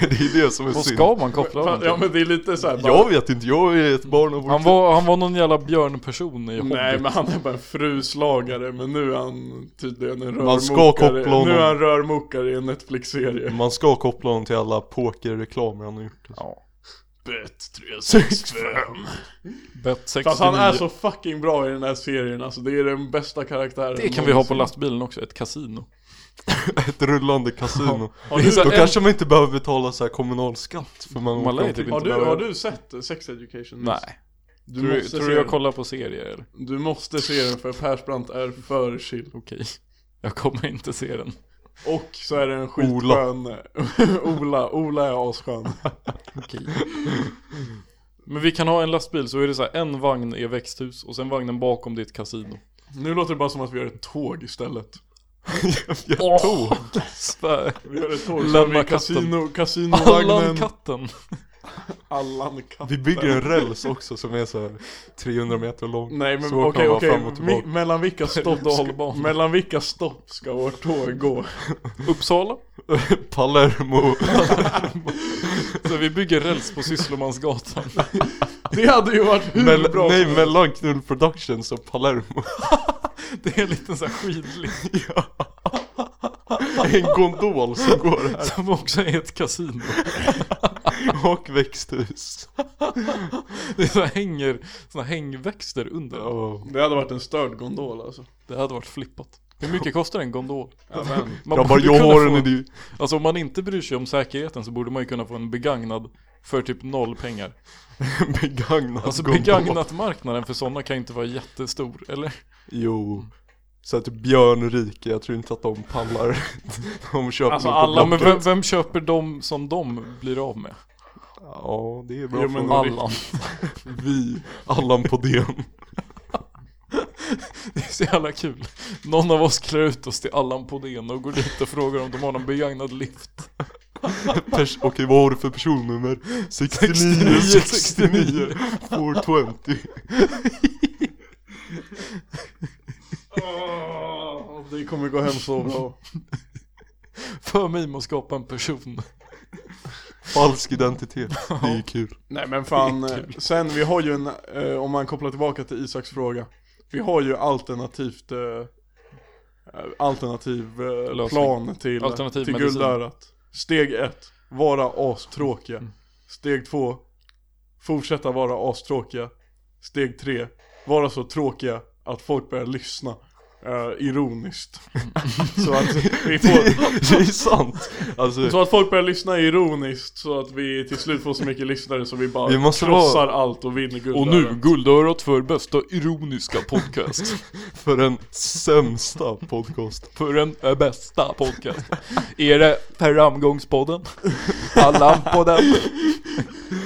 Det är det som är Vad synd ska man koppla Fan, honom Ja till? men det är lite såhär bara... Jag vet inte, jag är ett barn av vår Han tid. var, han var någon jävla björnperson i Nej Hobbit. men han är bara en fruslagare, men nu är han tydligen en rörmokare. Man ska koppla honom. Nu är han rörmokare i en Netflix-serie. Man ska koppla honom till alla pokerreklamer han har gjort alltså. Ja. Bet 365. Bet 69. Fast han är så fucking bra i den här serien, alltså det är den bästa karaktären Det kan vi ha på någonsin. lastbilen också, ett kasino. Ett rullande kasino [LAUGHS] Har du, Då en- kanske man inte behöver betala så här kommunalskatt för man, Man lär ju [LAUGHS] åker typ omkring. har, inte du, behöver- har du sett Sex Education? Nej. Du tror, måste tror se du jag den. kollar på serier eller? Du måste se den för Persbrandt är för chill. Okej. Jag kommer inte se den. Och så är det en skitskön [LAUGHS] Ola, Ola är asskön. Okej. [LAUGHS] Men vi kan ha en lastbil så är det så här, en vagn är växthus och sen vagnen bakom det är ett kasino. Nu låter det bara som att vi gör ett tåg istället. Jag tror. Åh! Svär. Vi gör ett tåg Lämna som är katten. kasino, Allan kasinovagnen. katten! Allan katten. Vi bygger en räls också som är så här 300 meter lång Nej men Så kan okej man okej, fram och tillbaka. Mi- mellan vilka stopp ska, Dalbanan. mellan vilka stopp ska vårt tåg gå? Uppsala. [LAUGHS] Palermo Så vi bygger räls på Sysslomansgatan. Det hade ju varit hur Mell- bra Nej som helst. mellan Knull Productions och Palermo Det är en liten sån här skidlig En gondol som går här som också är ett kasino. och växthus Det är så här hänger såna här hängväxter under. oh. Det hade varit en störd gondol alltså. Det hade varit flippat. Hur mycket kostar en gondol? Ja, men. Man Jag bara, borde jag kunna har få- en idé Alltså om man inte bryr sig om säkerheten så borde man ju kunna få en begagnad för typ noll pengar. Begagnad Alltså gondol. begagnat marknaden för sådana kan inte vara jättestor, eller? Jo Så att Björn Rike, jag tror inte att de pallar [LAUGHS] De köper Alltså, det på alla- Ja, men Blocket. vem, vem köper de som de blir av med? Ja det är bra Jo, jo, men men all- Allan. [LAUGHS] Vi, Allan på DN Det är så jävla kul. Någon av oss klär ut oss till Allan Podén och går dit och frågar om de har någon begagnad lift. [LAUGHS] Pers- Okej vad har du för personnummer? 69 69 420 Åh, det kommer gå hem så bra. För mig att skapa en person. Falsk identitet, det är ju kul Nej [LAUGHS] men fan, eh, sen vi har ju en, eh, om man kopplar tillbaka till Isaks fråga. Vi har ju alternativt, eh, eh, alternativ eh, Lösning. plan till, Alternativ till medicin. guldörat. Steg ett, vara astråkiga. Mm. Steg två, fortsätta vara astråkiga. Steg tre, vara så tråkiga att folk börjar lyssna. eh, [LAUGHS] ironiskt. så att vi får, Det är sant! Alltså, Så att folk börjar lyssna ironiskt så att vi till slut får så mycket lyssnare så vi bara Vi måste krossar allt och vinner guld Och nu, guldörat för bästa ironiska podcast. [LAUGHS] för den sämsta podcast För den eh, bästa podcast. Är det Framgångspodden? Allan på den.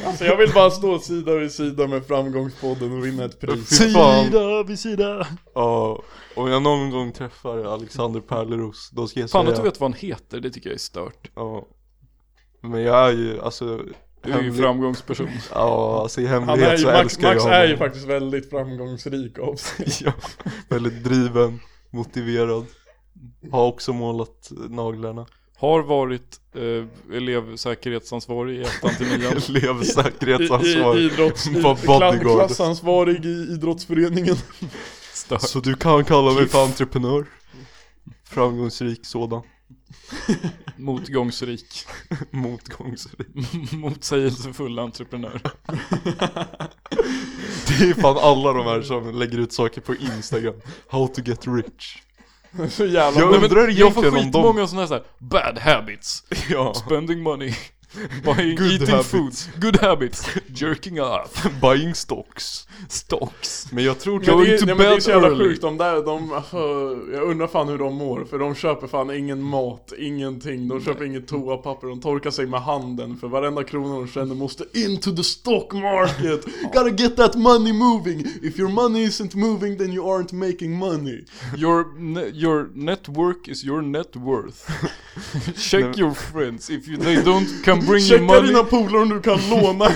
Alltså jag vill bara stå sida vid sida med framgångspodden och vinna ett pris Fy fan, Sida vid sida. ja, om jag någon gång träffar Alexander Perleros, då ska jag Fan säga att du vet vad han heter, det tycker jag är stört. Ja. Men jag är ju, alltså Du är ju Hemlig. framgångsperson. Ja, alltså i Han är hemlighet ju, så Max, älskar Max jag är ju honom. faktiskt väldigt framgångsrik av sig. Ja, väldigt driven, motiverad. Har också målat naglarna. Har varit eh, elevsäkerhetsansvarig i ettan till nian. I, i, Elevsäkerhetsansvarig. idrotts, i, Vad bodyguard. kla- klassansvarig i idrottsföreningen. Stört. Så du kan kalla mig för entreprenör. Framgångsrik sådan. Motgångsrik. Motgångsrik. Motsägelsefull entreprenör. Det är fan alla de här som lägger ut saker på Instagram. How to get rich. Så jävla... Jag Nej, men undrar jag får egentligen om de... skitmånga sådana här, så här bad habits. Ja. Spending money. Buying, Good eating habits. food. Good habits. Jerking off. Buying stocks. Stocks. Men jag tror... Men det, Going är- to nej, men det är bed så jävla early. sjukt, de där, de, alltså, jag undrar fan hur de mår, för de köper fan ingen mat, ingenting, de köper inget toapapper, de torkar sig med handen, för varenda krona de känner måste into the stock [LAUGHS] market, gotta get that money moving, if your money isn't moving then you aren't making money. Your, ne- your network is your net worth. Check your friends. If you, they don't can bring you Checka money. dina polare om du [LAUGHS] kan låna.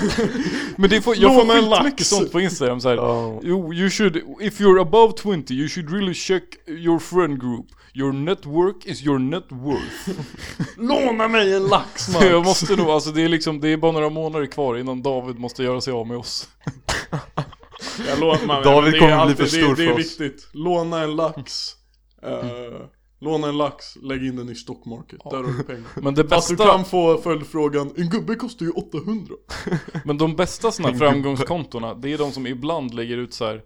Men det får, jag får låna en lax. skitmycket sånt på Instagram så här. Ja. You, you should, if you're above 20 you should really check your friend group. Your network is your net worth. låna mig en lax [LAUGHS] Max. Jag måste nog, alltså det är liksom, det är bara några månader kvar innan David måste göra sig av med oss. Jag lånar, man, David det är kommer bli alltid- för det, stor är- det för är oss. Mm. viktigt. Låna en lax. Eh, låna en lax, lägg in den i stock market. Där har du pengar. Men det Fast du bästa, kan få följdfrågan, en gubbe kostar ju 800. men de bästa såna här framgångskontona, det är de som ibland lägger ut så här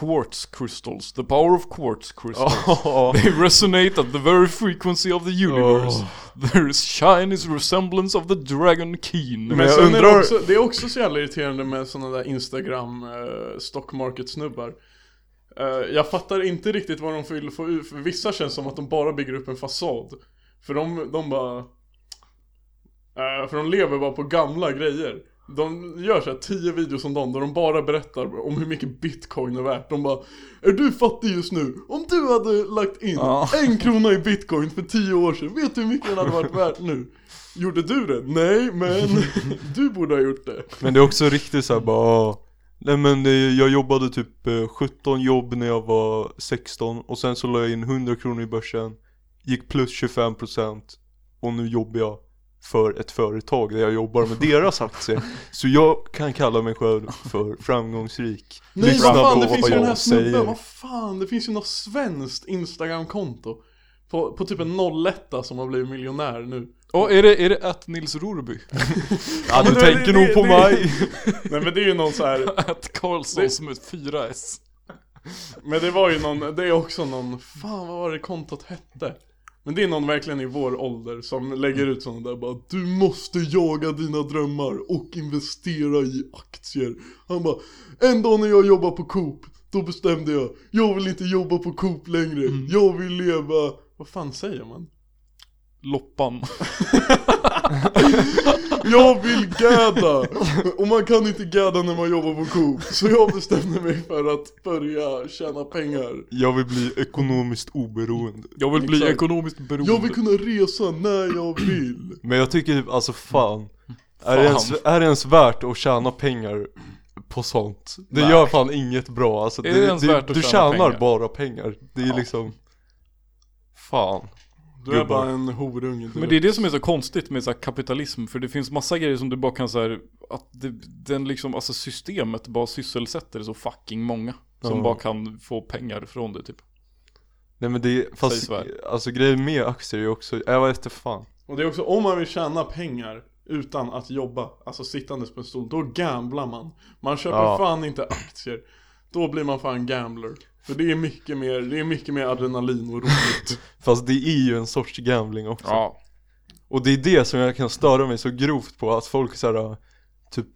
Quartz crystals, the power of quartz crystals. Ja. They resonate at the very frequency of the universe. Oh. There is shine is resemblance of the dragon keen. Men, jag sen är det, undrar- också, det är också så jävla irriterande med sådana där Instagram eh, stock market snubbar. Eh, jag fattar inte riktigt vad de vill få ut, för vissa känns som att de bara bygger upp en fasad. För de, de bara... eh, för de lever bara på gamla grejer. De gör såhär 10 videos om dagen där de bara berättar om hur mycket bitcoin är värt. De bara Är du fattig just nu? Om du hade lagt in Ja. en krona i bitcoin för 10 år sedan, vet du hur mycket den hade varit värt nu? Gjorde du det? Nej, men [LAUGHS] du borde ha gjort det. Men det är också riktigt såhär bara... ah, Nej men det, jag jobbade typ eh, 17 jobb när jag var 16 och sen så la jag in 100 kronor i börsen, gick plus 25% och nu jobbar jag för ett företag där jag jobbar med [LAUGHS] deras aktier. Så jag kan kalla mig själv för framgångsrik. Nej, Lyssna vad fan, på det finns ju vad den här jag säger. snubben, vad fan, det finns ju något svenskt Instagram-konto. På, på typ en 01 som har blivit miljonär nu. Och är det, är det att Nils Rorby? [LAUGHS] Ja du men det- tänker det- nog på det- mig. Nej men det är ju någon så här. Att Karlsson som ett 4S? men det var ju någon, det är också någon, fan vad var det kontot hette? Men det är någon verkligen i vår ålder som lägger ut sådana där bara Du måste jaga dina drömmar och investera i aktier Han bara En dag när jag jobbar på Coop Då bestämde jag Jag vill inte jobba på Coop längre Jag vill leva Vad fan säger man? Loppan. Jag vill gadda! Och man kan inte gadda när man jobbar på Coop Så jag bestämde mig för att börja tjäna pengar Jag vill bli ekonomiskt oberoende. Jag vill bli Exakt. ekonomiskt beroende. Jag vill kunna resa när jag vill Men jag tycker typ, alltså fan. Mm. Är, det ens, är det ens värt att tjäna pengar på sånt? Det Nej. gör fan inget bra alltså, Är det ens värt att Du tjäna tjänar pengar? bara pengar, det är liksom Fan Du är Gubbar. bara en horunge du. Men det är det som är så konstigt med så här kapitalism, för det finns massa grejer som du bara kan så här, att det, den liksom, alltså systemet bara sysselsätter så fucking många. Som Ja. bara kan få pengar från det typ. Nej men det är, Säg fast så här. alltså grejen med aktier är ju också, jag vet inte fan Och det är också om man vill tjäna pengar utan att jobba, alltså sittandes på en stol, då gamblar man Man köper Ja. fan inte aktier Då blir man fan gambler För det är mycket mer, det är mycket mer adrenalin [LAUGHS] och roligt Fast det är ju en sorts gambling också Ja. Och det är det som jag kan störa mig så grovt på, att folk såhär typ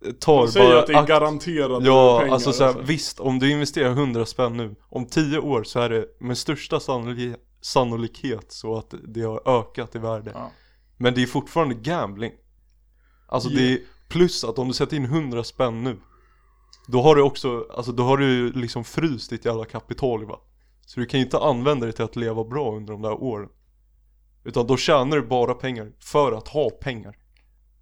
De tar säger bara att det är akt- garanterat Ja, pengar alltså, såhär, visst om du investerar 100 spänn nu, om 10 år så är det med största sannolik- sannolikhet så att det har ökat i värde. Ja. Men det är fortfarande gambling. Alltså det är plus att om du sätter in 100 spänn nu, då har du också, alltså då har du liksom fryst ditt jävla kapital va. Så du kan ju inte använda det till att leva bra under de där åren. Utan då tjänar du bara pengar för att ha pengar.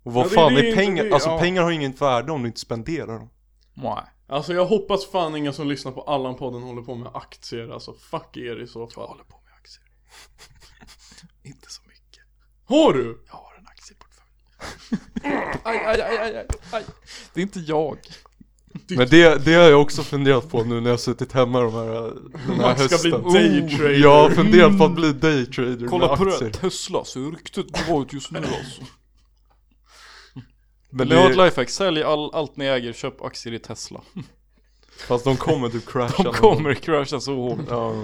Och vad Ja, det- fan det är är, inte- pengar? det- alltså ja. pengar har ju inget värde om du inte spenderar dem. Nej. Alltså jag hoppas fan ingen som lyssnar på Allan-podden håller på med aktier, alltså fuck er i så fall. på med aktier. [LAUGHS] Inte så mycket. Har du? Jag har en aktieportfölj. [LAUGHS] aj, aj, aj, aj, aj, aj. Det är inte jag. Men det, det har jag också funderat på nu när jag har suttit hemma de här, den här Man ska bli hösten. daytrader. jag har funderat på att bli daytrader med aktier. Tesla ser riktigt bra ut [LAUGHS] just nu alltså. Men Vill ni ha ett det, lifehack? Sälj all, allt ni äger, köp aktier i Tesla. fast de kommer typ crasha. De någon gång. kommer krascha så [LAUGHS] hårt. Ja.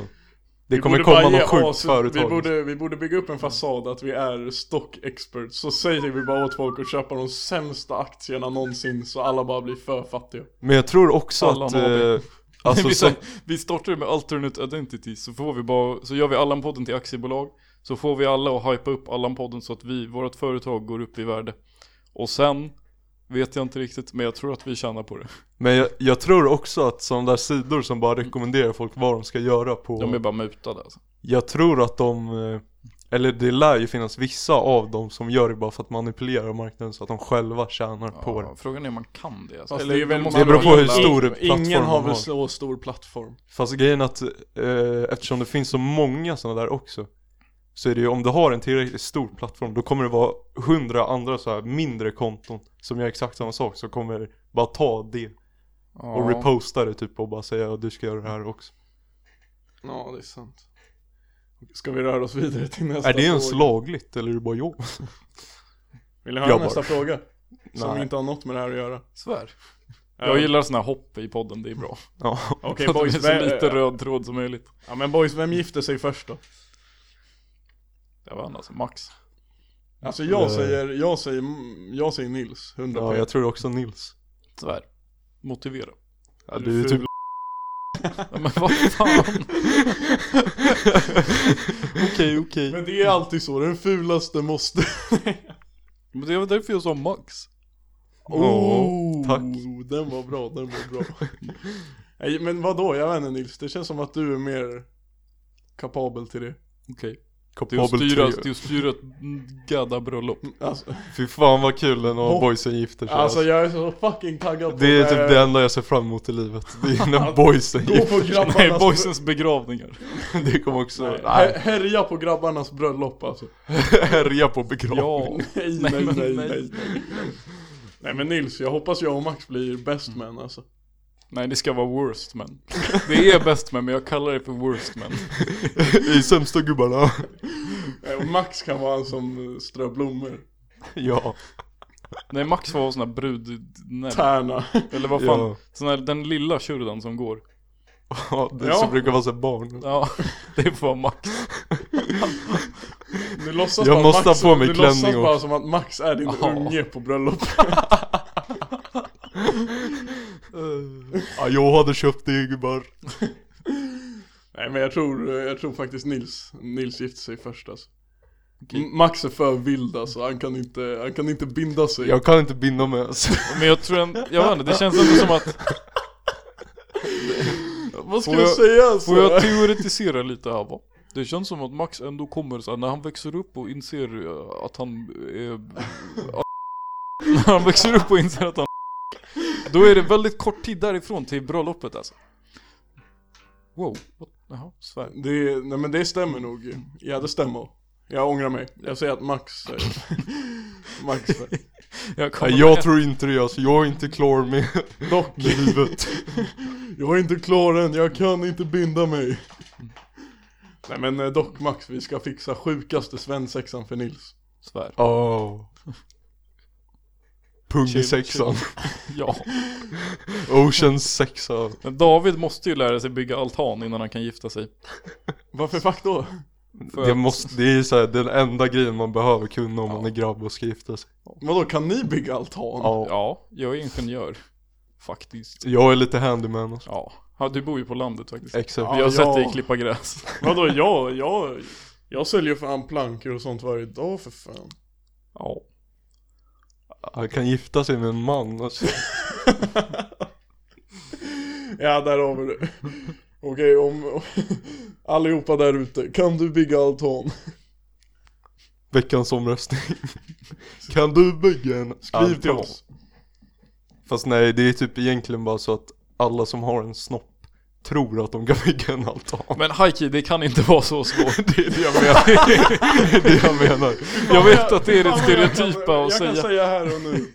Det Vi kommer borde bara komma ge något sjukt as- företag. Vi borde, vi borde bygga upp en fasad att vi är stock experts, så säger vi bara åt folk att köpa de sämsta aktierna någonsin så alla bara blir för fattiga. Men jag tror också Alla att... har det. Eh, alltså, vi, så, så, vi startar ju med alternate identity så får vi bara, så gör vi Allan-podden till aktiebolag. Så får vi alla att hypa upp Allan-podden så att vi, vårt företag går upp i värde. Och sen vet jag inte riktigt, men jag tror att vi tjänar på det. men jag, jag tror också att sådana där sidor som bara rekommenderar folk vad de ska göra på... De är bara mutade alltså. Jag tror att de... eh, Eller det lär ju finnas vissa av dem som gör det bara för att manipulera marknaden så att de själva tjänar på det. Ja, frågan är om man kan det alltså. Fast Eller det är väl- de måste Det beror på hur vara- stor plattform Ingen har man väl har. så stor plattform. Fast grejen är att eh, eftersom det finns så många sådana där också så är det ju om du har en tillräckligt stor plattform då kommer det vara hundra andra så här mindre konton som gör exakt samma sak så kommer bara ta det och Ja. reposta det typ och bara säga att du ska göra det här också. Ja, det är sant. Ska vi röra oss vidare till nästa Är det ens fråga? lagligt eller är det bara jag? Vill ni höra Jag bara- nästa fråga? Som Nej. inte har något med det här att göra. Svär. Jag gillar såna här hopp i podden, det är bra. [LAUGHS] Ja. [LAUGHS] Okej Så att boys, det är så vem, lite röd tråd som möjligt. ja, men boys, vem gifte sig först då? Jag vann alltså, max. Alltså jag Eh. säger, jag säger, jag säger Nils, 100 ja, jag tror också Nils. Svär. Motivera. Ja, Du du är typ ful. Ja, men vad fan. [LAUGHS] Okej, okej. Men det är alltid så, den fulaste måste... Men det var därför jag sa max. Ja, tack. Oh, Den var bra, den var bra. Nej men vadå, jag vet inte Nils, det känns som att du är mer kapabel till det. Okej. Det är att Kapabel styra, trio. det är att styra ett gadda bröllop. Alltså, Fy fan vad kul den Hopp. och boysen gifter sig. alltså jag är så fucking taggad på Det är typ här. Eh. det enda jag ser fram emot i livet. Det [LAUGHS] är när boysen Gå på gifter sig. grabbarnas... Nej, boysens begravningar. Det kommer också Nej, nej, [LAUGHS] här- Härja på grabbarnas bröllop alltså. härja på begravning. Ja. [LAUGHS] Nej, Nej, nej, men nej, nej. nej. Nej men Nils, jag hoppas jag och Max blir best man alltså. Nej, det ska vara worst men. Det är bäst men, men jag kallar det för worst men. [LAUGHS] I sämsta gubbarna. Nej, Och Max kan vara han som eh, strör blommor. Ja. Nej, Max var sån här brud... Nej. Tärna. Eller vad fan. Ja. Sån här, den lilla tjurden som går. ja det Ja. som brukar vara så här barn. Ja, [LAUGHS] det får vara Max. Du låtsas Jag bara måste Max, ha på mig du klänning låtsas bara också. som att Max är din Ja. unge på bröllop. Ja, jag hade köpt det gubbar. Nej men jag tror, eh, jag tror faktiskt Nils, Nils gifte sig först alltså. M- Max är för vild alltså, han kan inte, han kan inte binda sig. Jag kan inte binda mig ens. Men jag tror en, jag vet inte, det känns inte som att... Vad ska Får jag, jag- säga alltså? Får jag teoretisera lite här va? Det känns som att Max ändå kommer så här, när han växer upp och inser eh, att han är... [LAUGHS] att- när han växer upp och inser att han Då är det väldigt kort tid därifrån till bröllopet alltså. Wow, what? jaha, svär. Det, nej men det stämmer nog ju. Ja det stämmer. Jag ångrar mig. Jag säger att Max eh, [LAUGHS] Max eh, Jag Ja, kommer jag tror inte det alltså. Jag är inte klar med Dock, med livet. jag är inte klar än, jag kan inte binda mig. Nej men eh, dock Max, vi ska fixa sjukaste svensexan för Nils. svär. Oh. Pung Chill, i sexan. Ja. Ocean sexa. Men David måste ju lära sig bygga altan innan han kan gifta sig. Varför fuck då? För Det, att- måste, det är ju så här, den enda grejen man behöver kunna om man är grabb och ska gifta sig. Vadå, kan ni bygga altan? Ja. Ja, jag är ingenjör. Faktiskt. Jag är lite handyman och så. Ja. Ja, Du bor ju på landet faktiskt. Exakt. Vi har sett dig ja. klippa gräs. Vadå, jag, jag, jag säljer fan plankor och sånt varje dag för fan. Ja. Han kan gifta sig med en man alltså. Ja, där har vi det. Okej, om, om allihopa där ute, kan du bygga altan? Veckans omröstning. [LAUGHS] kan du bygga en Skriv till alkohol? oss. Fast nej, det är typ egentligen bara så att alla som har en snopp tror att de kan [LAUGHS] bygga en altan. Men hajki, det kan inte vara så svårt. Det är det jag menar. [LAUGHS] det är det jag menar. Jag vet att det är Fan, det vad jag kan- stereotypa att Jag kan säga. säga här och nu.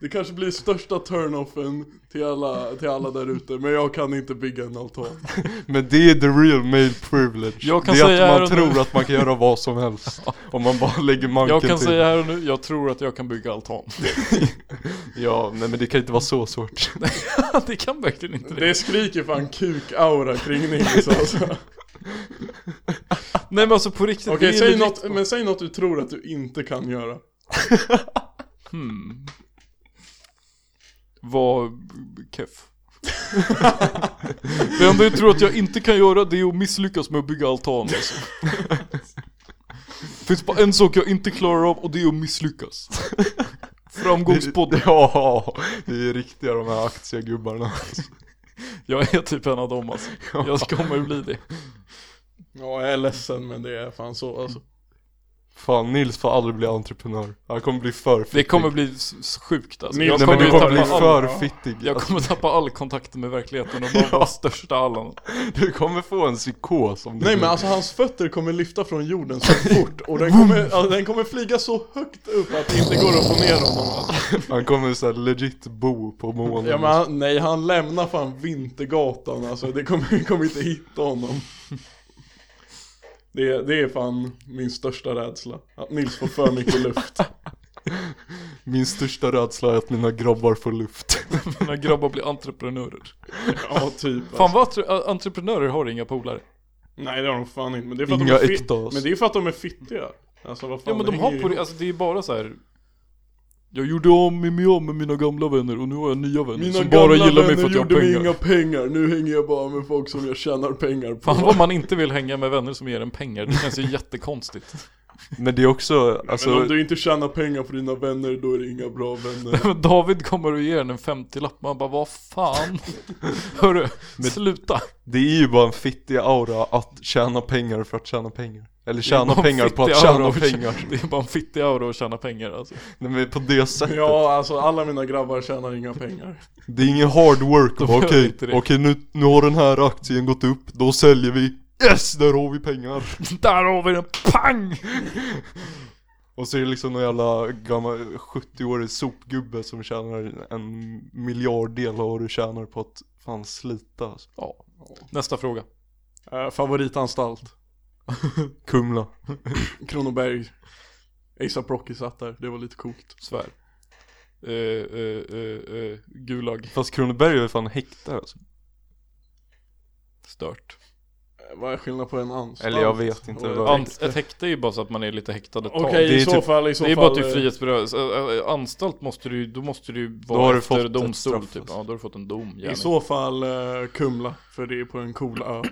Det kanske blir största turn-offen till alla, till alla där ute, men jag kan inte bygga en altan. Men det är the real male privilege. Jag kan det är säga här att man och nu- tror att man kan göra vad som [LAUGHS] helst. Om man bara lägger manken Jag kan till. säga här och nu, jag tror att jag kan bygga altan. Ja, nej men det kan inte vara så svårt. det kan verkligen inte det. Det skriker fan kuk-aura kring Nils alltså. Okej, Nej men alltså på riktigt, det är säg legit något, men säg något du tror att du inte kan göra. Hmm. Vad keff. det enda jag tror att jag inte kan göra det är att misslyckas med att bygga altan alltså. Det finns bara en sak jag inte klarar av och det är att misslyckas. Framgångspodden. [LAUGHS] Ja, det är riktiga de här aktiegubbarna. Jag är typ en av dem alltså. Jag kommer bli det. Ja, jag är ledsen men det är fan så alltså. Fan, Nils får aldrig bli entreprenör. Han kommer bli för Det fittig. kommer bli s- s- sjukt alltså. Nej, Jag Nej men kommer, du ju kommer bli tappa all, för ja. fittig. jag Alltså, kommer tappa all kontakt med verkligheten och bara vara största Allan. Du kommer få en psykos om du Nej men alltså hans fötter kommer lyfta från jorden så fort och den kommer, alltså, den kommer flyga så högt upp att det inte går att få ner honom alltså. Han kommer såhär legit bo på månen. Ja men han, nej han lämnar fan Vintergatan alltså, det kommer, vi kommer inte hitta honom. Det, är- det är fan min största rädsla, att Nils får för mycket luft. Min största rädsla är att mina grabbar får luft. Mina grabbar blir entreprenörer. [LAUGHS] Ja typ alltså. Fan vad entre- entreprenörer har inga polare. Nej det har de fan inte, men det är för att Inga de är fit- äkta, alltså. Men det är för att de är fittiga. Alltså vad fan, Ja men det de hänger har ju på det, ihop. alltså det är bara så här. Jag gjorde om mig med, om med mina gamla vänner och nu har jag nya vänner Mina som bara gamla gillar mig vänner för att jag har gjorde mig pengar. inga pengar, nu hänger jag bara med folk som jag tjänar pengar på. Fan vad man inte vill hänga med vänner som ger en pengar, det känns ju jättekonstigt. [LAUGHS] Men det är också, Men om alltså, du inte tjänar pengar på dina vänner, då är det inga bra [LAUGHS] vänner. David kommer och ger en en 50-lapp, man bara vad fan? Hörru, sluta. det är ju bara en fittig aura att tjäna pengar för att tjäna pengar. Eller Det är bara tjäna en pengar på fittig att aura tjäna och tjä- pengar. Det är bara en fittig aura att tjäna pengar alltså. Nej men på det sättet. Ja, alltså alla mina grabbar tjänar inga pengar. Det är ingen hard [LAUGHS] work De bara, gör okej, inte det. okej nu, nu har den här aktien gått upp, då säljer vi. Yes, där har vi pengar. Där har vi den, pang! Och så är det liksom någon jävla gammal 70-årig sopgubbe som tjänar en miljarddel av vad du tjänar på att fan slita alltså. Ja. Nästa fråga. Eh, favoritanstalt? Kumla. Kronoberg. ASAP Rocky satt där, det var lite coolt. Svär. Eh, eh, eh, eh, gulag. Fast Kronoberg är ju fan häktad alltså. Stört. Eh, Vad är skillnaden på en anstalt? Eller jag vet inte Och- vad- Ant- ett häkte är ju bara så att man är lite häktad ett tag. Okej, Det är i så typ- fall, i så Det är fall. bara typ eh, frihetsberövelse, Ä- ä- anstalt måste du ju, då måste du ju vara Då har du efter fått ett domstol straff, typ. alltså. Ja, då har du fått en dom. I gärna. så fall eh, Kumla, för det är på en cool ö och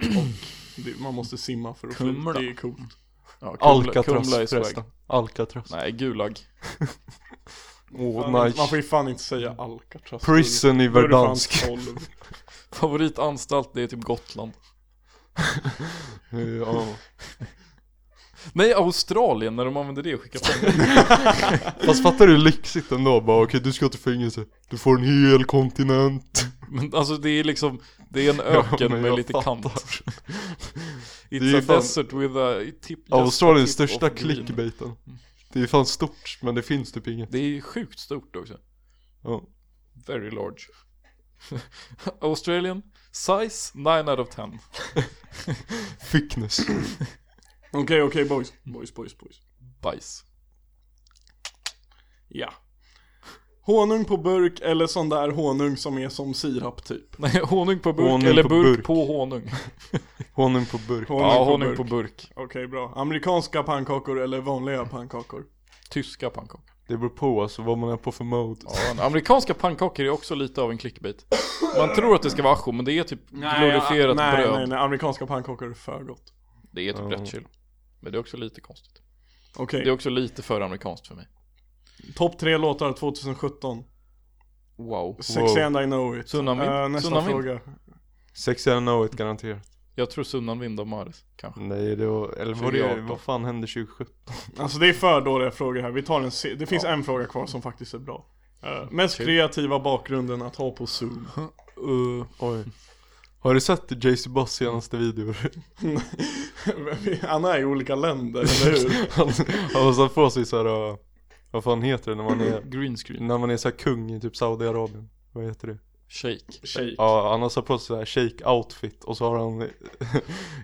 det, man måste simma för att fly. Kumla. Det är coolt. ja, Kumla- Alcatraz Kumla är swag. förresten. Alcatraz. Nej, Gulag. Åh Fan, Man får nice. ju fan inte säga Alcatraz. Prison i Då är du fan Verdansk. 12. Favoritanstalt, det är typ Gotland. ja. Nej, Australien när de använder det och skickar [LAUGHS] pengar. Fast fattar du hur lyxigt ändå? Bara okej du ska till fängelse. Du får en hel kontinent. Men alltså det är liksom, det är en Ja, öken men med jag lite fattar. kant. är It's ju a fan- desert with a tip just a Australiens tip typ största of green. clickbaiten. Det är fan stort men det finns typ inget. Det är ju sjukt stort också. Ja. Very large. [LAUGHS] Australian, size 9 out of 10. Thickness. Okej, okej boys. Boys, boys, boys. Bajs. Ja. Honung på burk eller sån där honung som är som sirap typ. Nej, honung på burk Honung eller på burk, burk. på honung. Honung på burk. Honung Ja, på honung burk. på burk. Okej, bra. Amerikanska pannkakor eller vanliga pannkakor? Tyska pannkakor. Det beror på alltså vad man är på för mode. Ja, en- amerikanska pannkakor är också lite av en clickbait. Man tror att det ska vara ajo, men det är typ glorifierat nej, bröd. Nej, nej, amerikanska pannkakor är för gott. Det är typ Ja. rätt chill. Men det är också lite konstigt. Okej, Det är också lite för amerikanskt för mig. topp tre låtar 2017. Wow. Sexy and I know it. Tsunami? Eh, nästa Tsunami? fråga. Sex and know it garanterat. Jag tror Sunnan Vind av Mares, kanske. Nej det var, eller var det, 2018. vad fan hände 2017? Alltså det är för dåliga frågor här, vi tar en se- Det finns en fråga kvar som faktiskt är bra Eh, Mest kreativa bakgrunden att ha på zoom Uh, oj. Har du sett JC Buzz senaste [LAUGHS] videor? [LAUGHS] Han Mm. är i olika länder, [LAUGHS] eller hur? han, han har satt på sig såhär, uh, vad fan heter det när man är, Green screen. när man är såhär kung i typ Saudiarabien? Vad heter det? Shake. Tjej Ja, han har satt på sig såhär shake outfit och så har han [LAUGHS]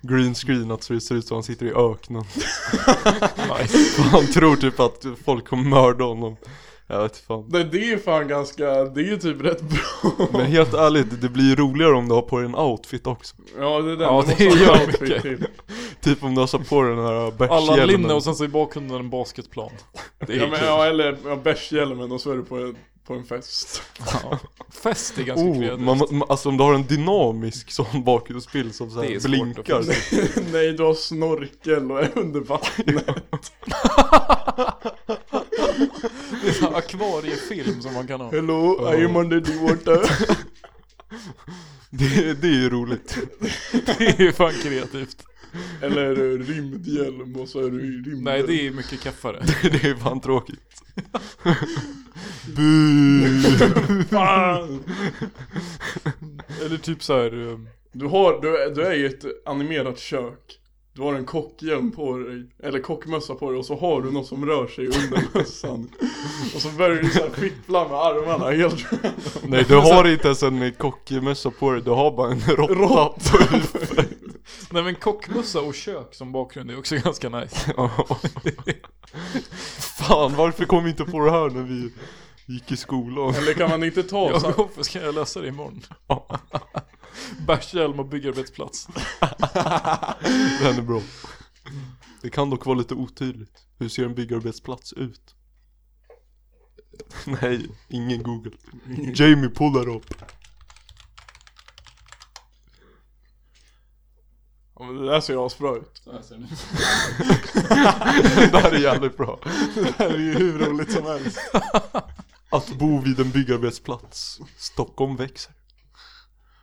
green screenat så det ser ut som han sitter i [LAUGHS] öknen. Och [LAUGHS] han tror typ att folk kommer mörda honom. Jag vet fan. Det, det är ju fan ganska, det är ju typ rätt bra Men helt ärligt, det blir ju roligare om du har på dig en outfit också. Ja det är den, Ja, Du det måste ha gör en outfit mycket. till. Typ om du har satt på dig den här uh, Alla linne bärshjälmen. och sen så i bakgrunden en basketplan. Det är Ja, men, ja eller ja, bärshjälmen och så är du på en, på en fest ja. Fest är ganska Oh, kreativt. man, man, alltså om du har en dynamisk sån bakgrundsbild som så Det är här svårt blinkar. att få. [LAUGHS] Nej du har snorkel och är [LAUGHS] under vattnet Det är så här [LAUGHS] akvariefilm som man kan ha. Hello, I am under the water [LAUGHS] Det, det är ju roligt. [LAUGHS] [LAUGHS] Det är ju fan kreativt. Eller eh, rymdhjälm och så är du i rymden Nej, det är mycket kaffare. Det är [LAUGHS] fan tråkigt. Bu. Fan! Eller typ så här. ehm, Du, har, du, är- du är i ett animerat kök Du har en kockhjälm på dig, eller kockmössa på dig och så har du något som rör sig [LAUGHS] under mössan Och så börjar du så här fippla med armarna helt Nej du har inte ens en kockmössa på dig, du har bara en råtta på huvudet. Nej men kockmössa och kök som bakgrund är också [LAUGHS] ganska nice. Ja. [LAUGHS] Fan varför kom vi inte på det här när vi gick i skolan? Eller kan man inte ta så Jag går ska jag läsa det imorgon. [LAUGHS] Bärshjälm och byggarbetsplats. [LAUGHS] [LAUGHS] Den är bra. Det kan dock vara lite otydligt. Hur ser en byggarbetsplats ut? [LAUGHS] Nej, ingen google. [LAUGHS] Jamie pullar upp. Ja, men det där ser ju asbra ut [LAUGHS] Det här är jävligt bra. Det här är ju hur roligt som helst Att bo vid en byggarbetsplats. Stockholm växer.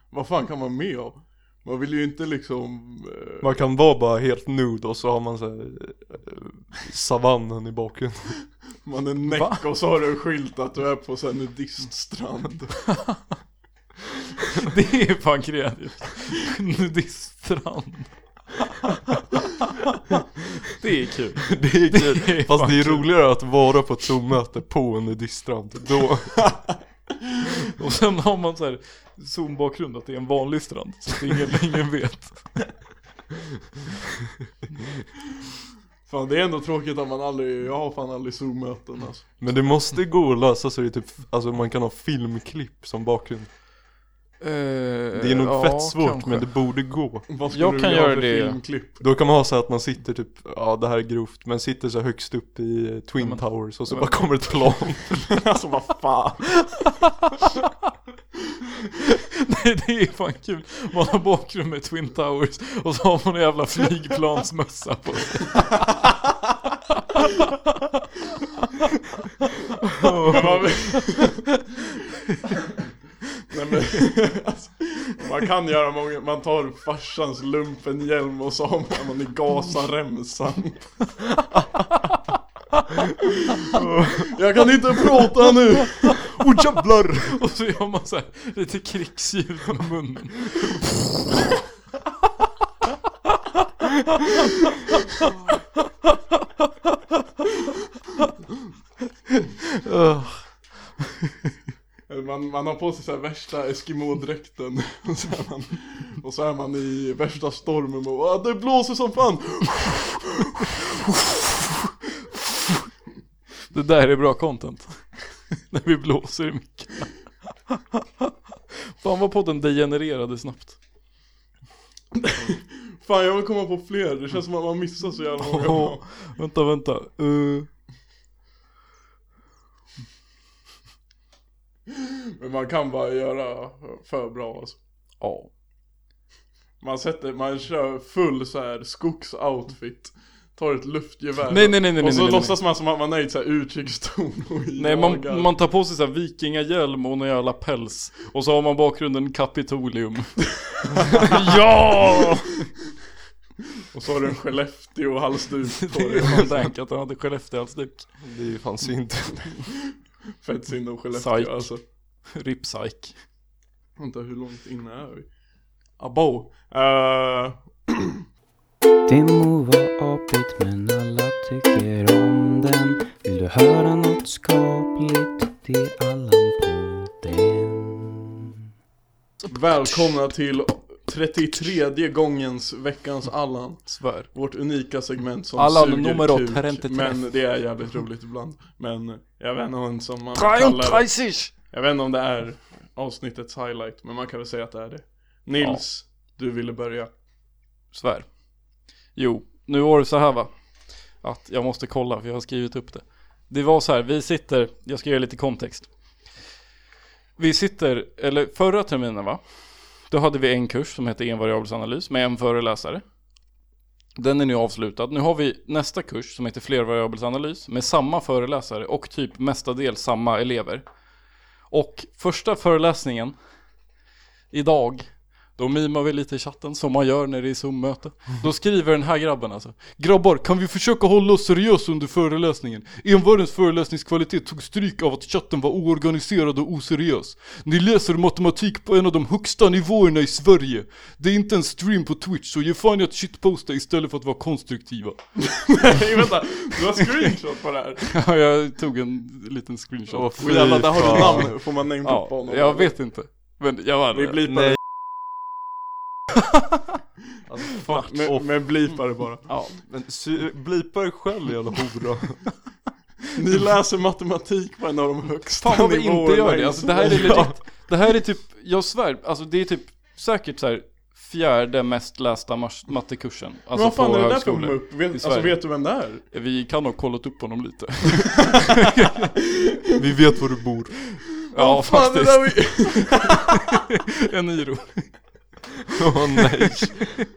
Vad fan kan man med av? Man vill ju inte liksom eh, Man kan vara bara helt nude och så har man så här, eh, savannen i bakgrunden. Man är näck och så har du en skylt att du är på så här nudiststrand Det är fan kreativt. Nudiststrand. [LAUGHS] Det är kul. [LAUGHS] Det är kul. Det är Fast fan [LAUGHS] det är kul. roligare att vara på ett Zoom-möte på en nudiststrand. [LAUGHS] Då, Och sen har man så här zoom-bakgrund att det är en vanlig strand. Så att ingen, ingen vet. Fan det är ändå tråkigt att man aldrig, jag har fan aldrig zoom-möten alltså men det måste gå att lösa så det är typ, alltså man kan ha filmklipp som bakgrund. Eh, Det är nog fett svårt men det borde gå. Vad skulle Jag du kan vilja ha göra för det. filmklipp? Då kan man ha så att man sitter typ, ja det här är grovt, men sitter så högst upp i eh, Twin men- Towers och så men- bara kommer ett [LAUGHS] plan. Alltså vad fan [LAUGHS] Nej, det är fan kul. Man har bakgrund med Twin Towers och så har man en jävla flygplansmössa på sig. Men man... Nej men alltså, Man kan göra många, man tar farsans lumpenhjälm och så har man- man i gasaremsan Jag kan inte prata nu! Oh jävlar! Och så gör man så här lite krigsljud med munnen. Ugh. Man, man har på sig så här värsta Eskimo-dräkten [LAUGHS] och, så är man- och så är man i värsta stormen och ah, det blåser som fan! Det där är bra content. När vi blåser i micken. Fan vad podden degenererade snabbt. Fan jag vill komma på fler, det känns som att man missar så jävla många Åh, bra. vänta, vänta. Eh, Men man kan bara göra för bra alltså. ja. Man sätter, man kör full så här skogsoutfit tar ett luftgevär Nej, nej, nej, nej, Och så nej, nej, låtsas man som att man är i så här utkikston och Nej, jagar. man, man tar på sig så här vikingahjälm och någon jävla päls. Och så har man bakgrunden Kapitolium. [LAUGHS] ja! Och så har du [LAUGHS] en Skellefteå-halsduk på Det dig är fan dank att han hade Skellefteåhalsduk. Det är ju fan synd. Fett synd om Skellefteå Psyk. alltså Ripsike. Vänta, hur långt inne är vi? Abo! Uh, Det må vara apigt men alla tycker om den. Vill du höra något skapligt? Det är Allan på den. välkomna till 33 gångens veckans Allan Svär. Vårt unika segment som Allan suger numero kuk, 33. Men det är jävligt roligt ibland Men jag vet inte om som man Triumph kallar det. Preisisch! Jag vet inte om det är avsnittets highlight Men man kan väl säga att det är det Nils, du ville börja [LAUGHS] Svär. Jo, nu var det så här va. Att jag måste kolla för jag har skrivit upp det. Det var så här, vi sitter, jag ska ge lite kontext. Vi sitter, eller förra terminen va. Då hade vi en kurs som hette envariabelsanalys med en föreläsare. Den är nu avslutad. Nu har vi nästa kurs som heter flervariabelsanalys med samma föreläsare och typ mestadels samma elever. Och första föreläsningen idag då mimar vi lite i chatten som man gör när det är Zoom-möte. Då skriver den här grabben alltså. Grabbar, kan vi försöka hålla oss seriösa under föreläsningen? Envarens föreläsningskvalitet tog stryk av att chatten var oorganiserad och oseriös. Ni läser matematik på en av de högsta nivåerna i Sverige. Det är inte en stream på Twitch så ge fan i att shitposta istället för att vara konstruktiva. [LAUGHS] Nej vänta, du har screenshot på det här Ja, jag tog en liten screenshot. Åh, fy Och jävlar, där har fan. du namn, får man namedroppa ja, honom? jag vet inte. Men jag var Vi blipar Nej. det. Alltså, fuck off. Men, men blipar det bara Ja, Men sy- blipa dig själv jävla hora. Ni läser matematik på en av de högsta Fan vad vi nivåerna inte gör i det, alltså, det här är [LAUGHS] Sverige. legit, Det här är typ, jag svär, alltså det är typ säkert så här fjärde mest lästa mas- mattekursen Alltså Men vad fan på är det där för högskolor mupp? Vet, alltså Sverige. vet du vem det är? Vi kan nog kollat upp honom lite Vi vet var du bor. [LAUGHS] Ja Fan, det faktiskt, där var [LAUGHS] ju- en iro Åh nej.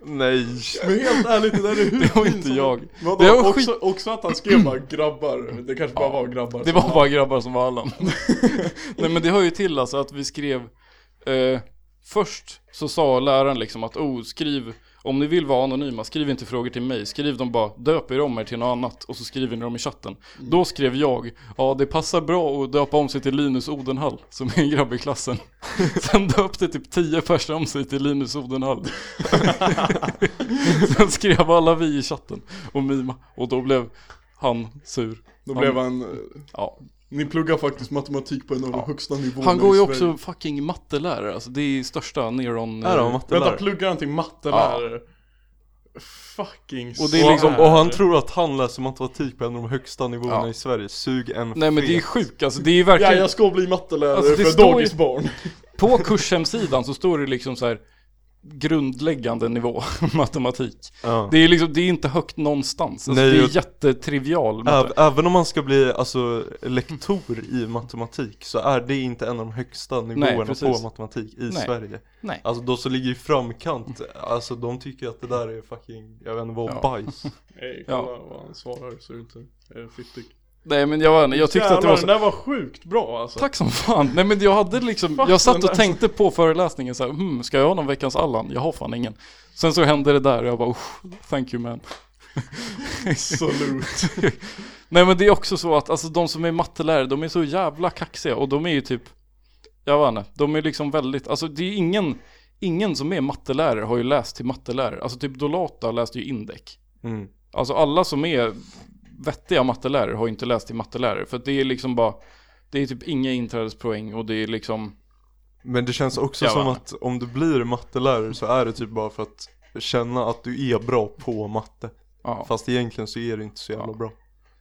Nej. Men helt ärligt, det där [LAUGHS] är hur Det var inte pinsamt. jag Vadå? Det var också, också [CLEARS THROAT] att han skrev bara 'grabbar' Det kanske bara var grabbar Det som- var bara grabbar som var Allan [LAUGHS] Nej men det hör ju till alltså att vi skrev eh, Först så sa läraren liksom att oh, skriv Om ni vill vara anonyma, skriv inte frågor till mig Skriv dem bara, döp er om er till något annat Och så skriver ni dem i chatten Då skrev jag, ja det passar bra att döpa om sig till Linus Odenhall Som är en grabb i klassen Sen döpte typ 10 personer om sig till Linus Odenhall [LAUGHS] Sen skrev alla vi i chatten och mima Och då blev han sur Då blev han... eh, Ja, Ni pluggar faktiskt matematik på en av de högsta nivåerna Han går i ju Sverige. också fucking mattelärare, alltså det är största neron... eh, Är han Vänta, mattelärare? pluggar han till mattelärare? Fucking Och det är svär. liksom- Och han tror att han läser matematik på en av de högsta nivåerna Ja. i Sverige. Sug en Nej men det är ju sjukt, alltså det är ju Ja, verkligen... jag ska bli mattelärare Alltså, det för står ju- dagisbarn På kurshemsidan så står det liksom så här grundläggande nivå [LAUGHS] matematik. Ja. Det är liksom, det är inte högt någonstans. Alltså Nej, det är jag- jättetrivial matte. Ä- Även om man ska bli alltså, lektor i matematik så är det inte en av de högsta nivåerna precis. på matematik i Nej. Sverige. Nej. Alltså de som ligger i framkant, alltså de tycker att det där är fucking, jag vet inte vad, Ja. bajs. Nej, kolla Ja. vad han svarar så det inte är Eh, fittig Nej men jag vet inte, jag tyckte att det Jävlar, var den så... där var sjukt bra alltså Tack som fan. Nej men jag hade liksom, Fuck, jag den satt där- och tänkte på föreläsningen så här, hmm, ska jag ha någon veckans Allan? Jag har fan ingen. Sen så hände det där och jag bara, "Usch, thank you man. Absolut [LAUGHS] Nej men det är också så att alltså, de som är mattelärare, de är så jävla kaxiga och de är ju typ Jag vet inte, de är liksom väldigt, alltså det är ingen Ingen som är mattelärare har ju läst till mattelärare, alltså typ Dolata läste ju Indec Mm. Alltså alla som är vettiga mattelärare har ju inte läst till mattelärare för att det är liksom bara Det är typ inga inträdespoäng och det är liksom Men det känns också Ja, som va. att om du blir mattelärare så är det typ bara för att känna att du är bra på matte. Ja, Fast egentligen så är det inte så jävla Ja. bra.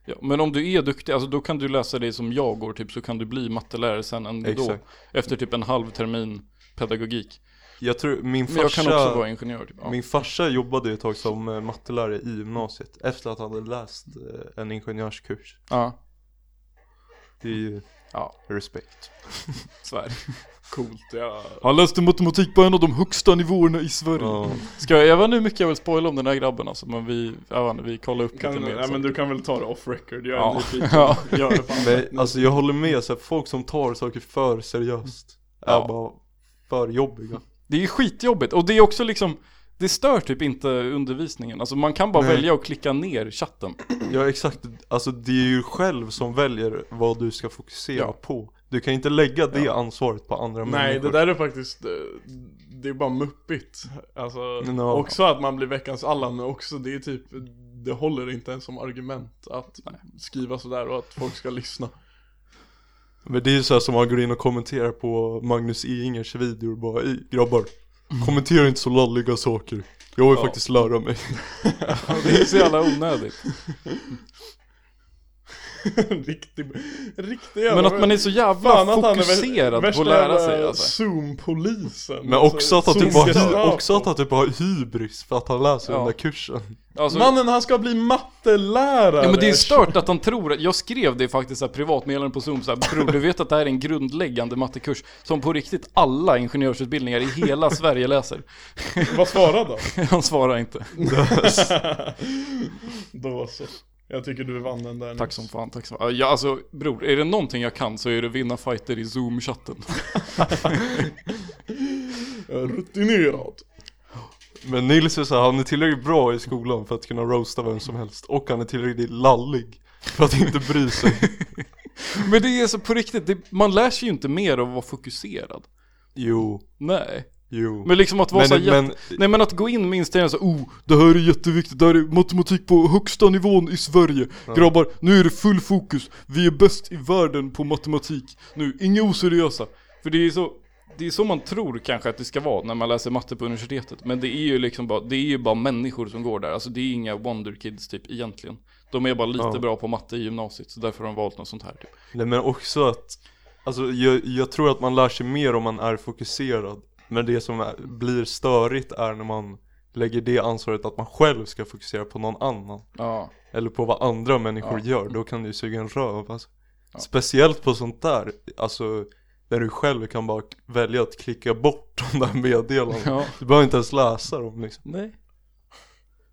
ja. men om du är duktig, alltså då kan du läsa det som jag går typ så kan du bli mattelärare sen ändå Exakt. Efter typ en halv termin pedagogik Jag tror min Men jag kan farsa, också vara ingenjör typ. ja. min farsa jobbade ett tag som eh, mattelärare i gymnasiet efter att han hade läst eh, en ingenjörskurs. Ja. Det är ju Ja. respekt. Sverige. Coolt, ja. Han läste matematik på en av de högsta nivåerna i Sverige. Ja. Ska jag, jag vet inte hur mycket jag vill spoila om den här grabben alltså, men vi, jag vet inte, vi kollar upp Kan, lite mer. nej, sen. men du kan väl ta det off record, jag är Ja. nyfiken. [LAUGHS] Ja. Gör det fan. Men alltså jag håller med, så här, folk som tar saker för seriöst är Ja. bara för jobbiga. Det är skitjobbigt och det är också liksom, det stör typ inte undervisningen. Alltså man kan bara Nej. välja att klicka ner chatten. Ja exakt, alltså det är ju själv som väljer vad du ska fokusera Ja. på. Du kan inte lägga det ansvaret på andra Nej, det människor. där är faktiskt, eh, det är bara muppigt. Alltså, Ja. också att man blir veckans Allan också, det är typ, det håller inte ens som argument att skriva sådär och att folk ska lyssna. [LAUGHS] Men det är ju så här som man går in och kommenterar på Magnus E. Ingers videor bara "Ey, grabbar, kommentera inte så lalliga saker. Jag vill Ja. faktiskt lära mig. Det är så jävla onödigt. Riktig, riktig jävla- Men att man är så jävla Fan att han är vä- fokuserad på värsta att lära sig jävla alltså. Zoom-polisen. alltså, Men också att han typ har, hy- Zoom-gestapo. också att han typ har hybris för att han läser Ja. den där kursen. alltså Mannen han ska bli mattelärare! Ja men det är stört att han tror att, jag skrev det faktiskt såhär privatmeddelande på zoom såhär Bror du vet att det här är en grundläggande mattekurs som på riktigt alla ingenjörsutbildningar i hela Sverige läser [LAUGHS] Vad svarade han? Han svarar inte Då så. Jag tycker du vann den där. Tack som fan, tack som fan ja, alltså bror, är det någonting jag kan så är det vinna fighter i zoom-chatten [LAUGHS] Rutinerad. Men Nils är så här, han är tillräckligt bra i skolan för att kunna roasta vem som helst. Och han är tillräckligt lallig för att inte bry sig. Men det är så på riktigt, det, man lär sig ju inte mer av att vara fokuserad Jo, Nej jo. Men liksom att vara Men- såhär jätte... men- Nej men att gå in med inställningen så oh, det här är jätteviktigt, det här är matematik på högsta nivån i Sverige Grabbar, nu är det full fokus, vi är bäst i världen på matematik Nu, inga oseriösa För det är så, det är så man tror kanske att det ska vara när man läser matte på universitetet Men det är ju liksom bara, det är ju bara människor som går där Alltså det är inga wonderkids typ egentligen De är bara lite Ja. bra på matte i gymnasiet så därför har de valt något sånt här typ Nej men också att, alltså jag, jag tror att man lär sig mer om man är fokuserad. Men det som är, blir störigt är när man lägger det ansvaret att man själv ska fokusera på någon annan. Ja, Eller på vad andra människor Ja. gör, då kan du ju suga en röv alltså. Ja. Speciellt på sånt där, alltså där du själv kan bara välja att klicka bort de där meddelandena. ja, Du behöver inte ens läsa dem liksom. nej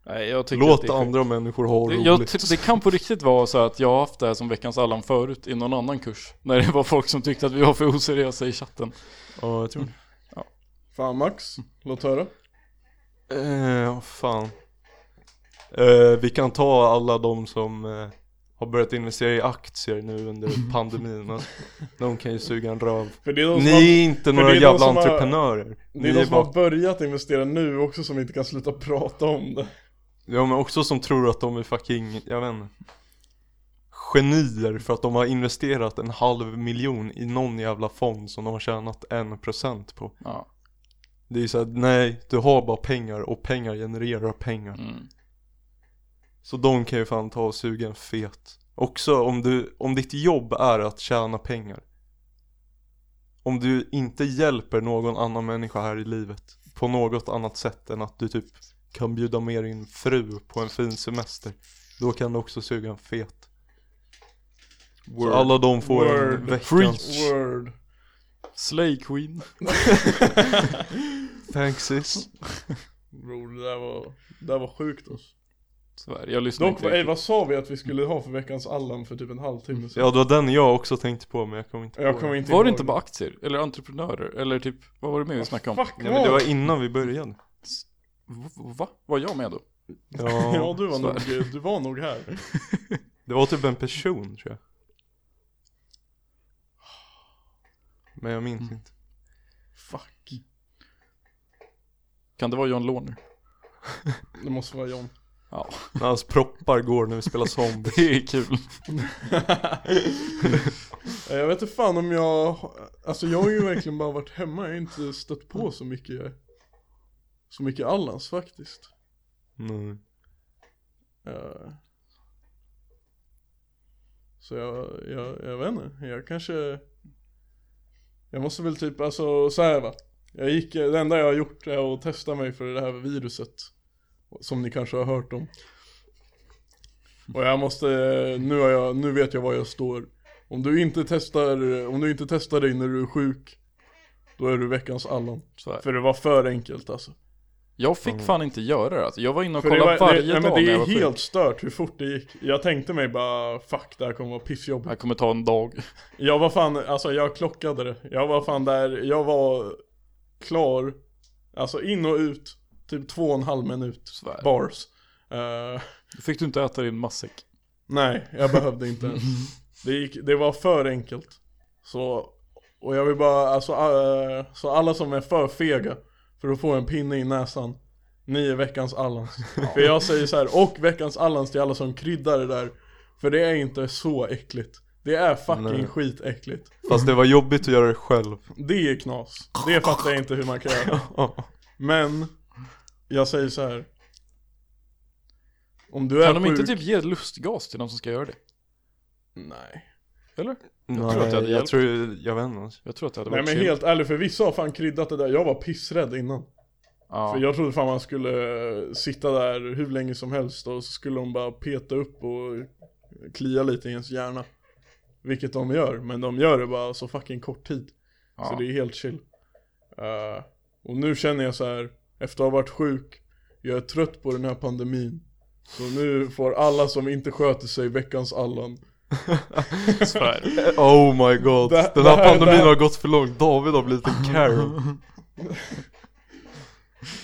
Nej jag tycker att Låt det är sjukt. andra människor ha Det, roligt. jag, tr- det kan på riktigt vara så att jag har haft det här som veckans Allan förut i någon annan kurs. [LAUGHS] När det var folk som tyckte att vi var för oseriösa i chatten. Ja, jag Mm. tror det. Fan Max, låt höra. Eh, vad fan. Eh, vi kan ta alla de som eh, har börjat investera i aktier [LAUGHS] nu under pandemin. alltså. De kan ju suga en röv. För det är de som, Ni har, är inte för några det är de jävla som har- entreprenörer. det Ni är är de som bara, har börjat investera nu också som inte kan sluta prata om det. ja, men också som tror att de är fucking, jag vet inte. Genier för att de har investerat en halv miljon i någon jävla fond som de har tjänat en procent på. Ja. Det är ju såhär, nej, du har bara pengar och pengar genererar pengar. Mm. Så de kan ju fan ta och suga en fet. Också om, du, om ditt jobb är att tjäna pengar. Om du inte hjälper någon annan människa här i livet på något annat sätt än att du typ kan bjuda med din fru på en fin semester. Då kan du också suga en fet. Så alla de får Word. en veckans... Word. Slay Queen. Thanks sis. Bror det där var, det där var sjukt alltså. Tyvärr, jag lyssnar Dock, inte. ej, riktigt. vad sa vi att vi skulle ha för veckans Allan för typ en halvtimme sedan? Ja det var den jag också tänkte på men jag kom inte på Jag kommer den. inte Var det ihåg. inte bara aktier? Eller entreprenörer? Eller typ, vad var det mer vi snackade om? Fuck Nej men det var innan vi började. V- Va? Var jag med då? Ja [LAUGHS] Ja, du var, så är nog, du var nog här. det var typ en person tror jag. Men jag minns inte. Fuck. Kan det vara John Låner? Det måste vara John. Ja, När hans proppar går när vi [LAUGHS] spelar zombie. [LAUGHS] det är kul. Eh, jag vet inte fan om jag, alltså jag har ju verkligen bara varit hemma, jag har inte stött på så mycket, så mycket Allans faktiskt. Nej. Eh, Så jag, jag, jag vet inte, jag kanske Jag måste väl typ, alltså så här va Jag gick, det enda jag har gjort är att testa mig för det här viruset Som ni kanske har hört om Och jag måste, nu, har jag, nu vet jag var jag står Om du inte testar, om du inte testar dig när du är sjuk Då är du veckans Allan Så här. För det var för enkelt alltså Jag fick fan inte göra det alltså. Jag var inne och För det var, kollade det, varje nej, dag men det när jag är var sjuk. helt stört hur fort det gick Jag tänkte mig bara fuck det här kommer vara pissjobbigt Det här kommer ta en dag. Jag var fan, alltså jag klockade det. Jag var fan där, jag var klar, alltså in och ut, typ två och en halv minut. Svär. Bars. Eh, Då fick du inte äta din matsäck. nej, jag [LAUGHS] behövde inte Mm. ens. Det, gick, det var för enkelt. Så, och jag vill bara, alltså, eh, så alla som är för fega för att få en pinne i näsan, ni är [LAUGHS] veckans Allans. För jag säger så här, och veckans Allans till alla som kryddar det där. För det är inte så äckligt. Det är fucking Nej. skitäckligt. Fast det var jobbigt att göra [LAUGHS] det själv. Det är knas. Det [LAUGHS] fattar jag inte hur man kan göra. Men, jag säger så här. Om du är Kan de sjuk... inte typ ge lustgas till de som ska göra det? Nej. Eller? Nej, tror att det hade jag hjälpt. tror, jag vet inte. alltså. Jag tror att det hade Nej varit men chill. helt ärligt, för vissa har fan kryddat det där. Jag var pissrädd innan. Ja. För jag trodde fan man skulle eh, sitta där hur länge som helst och så skulle de bara peta upp och klia lite i ens hjärna. Vilket de gör, men de gör det bara så fucking kort tid. Så Ja. det är helt chill. Eh, och nu känner jag så här, efter att ha varit sjuk, jag är trött på den här pandemin. Så nu får alla som inte sköter sig veckans Allan. Svär. [LAUGHS] Oh my god, Det- den det här här- pandemin det här- har gått för långt, David har blivit [LAUGHS] en Karen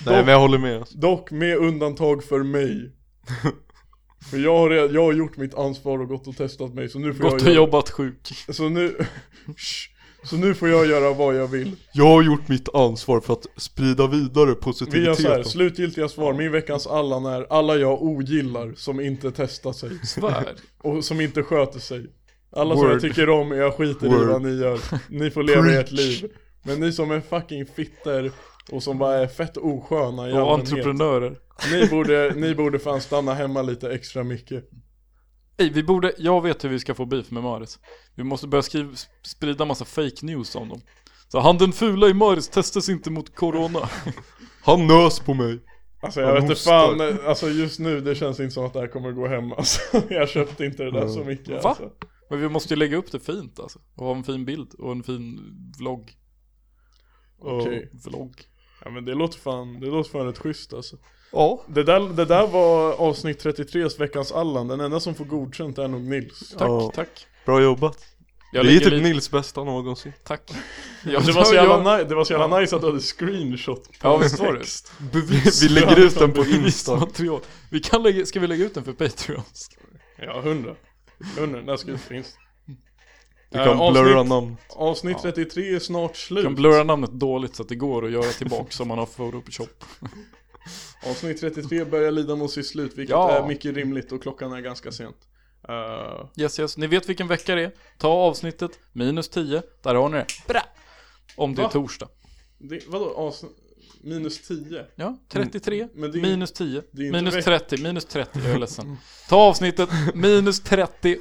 Nej men jag håller med alltså. Dock med undantag [LAUGHS] för mig. För jag har, red- jag har gjort mitt ansvar och gått och testat mig så nu får Gått jag och göra, jobbat sjuk. så nu, [LAUGHS] Shh. så nu får jag göra vad jag vill. Jag har gjort mitt ansvar för att sprida vidare Vi gör så här, positiviteten slutgiltiga svar, min veckans Allan är alla jag ogillar som inte testar sig. Svär. Och som inte sköter sig. Alla som jag Word. tycker om, jag skiter i Word. vad ni gör. Ni får leva ert Preach. liv. Men ni som är fucking fitter och som bara är fett osköna i Och allmänhet. entreprenörer. Ni borde, ni borde fan stanna hemma lite extra mycket. Ey, vi borde, jag vet hur vi ska få beef med Maris. Vi måste börja skriva, sprida massa fake news om dem. Så han den fula i Maris testas inte mot corona. Han nös på mig Alltså jag Vad vet inte hostar. fan, alltså just nu det känns inte som att det här kommer gå hem alltså. [LAUGHS] Jag köpte inte det där så mycket Va? alltså. Men vi måste ju lägga upp det fint alltså. Och ha en fin bild och en fin vlogg. Okej. Vlogg. Ja men det låter fan, det låter fan rätt schysst alltså. Ja Det där, det där var avsnitt 33s veckans Allan, den enda som får godkänt är nog Nils. Tack, Ja. tack. Bra jobbat Jag Det är lägger typ lite- Nils bästa någonsin Tack. Jag, Alltså, Det var så jävla, ni- det var så jävla nice att du hade screenshot på Ja, visst [LAUGHS] var det? text. Bevis. [LAUGHS] Vi lägger ut den på Insta Bevismaterial. Vi kan lägga, ska vi lägga ut den för Patreons? [LAUGHS] Ja, hundra. Hundra, där ska det finnas. Du kan avsnitt, blurra namn avsnitt 33 är snart Vi slut. kan blurra namnet dåligt så att det går att göra tillbaka som man har Photoshop. Avsnitt 33 börjar lida mot sitt slut, vilket Ja. är mycket rimligt och klockan är ganska sent. Eh, Yes, yes. Ni vet vilken vecka det är. Ta avsnittet, minus 10. Där har ni det. Bra! Om det är Va? torsdag. det, vadå, avsnitt, minus 10? Ja, 33, Men det är- minus 10, det är inte minus veck- 30, minus 30. Jag är ledsen. Ta avsnittet, minus 30.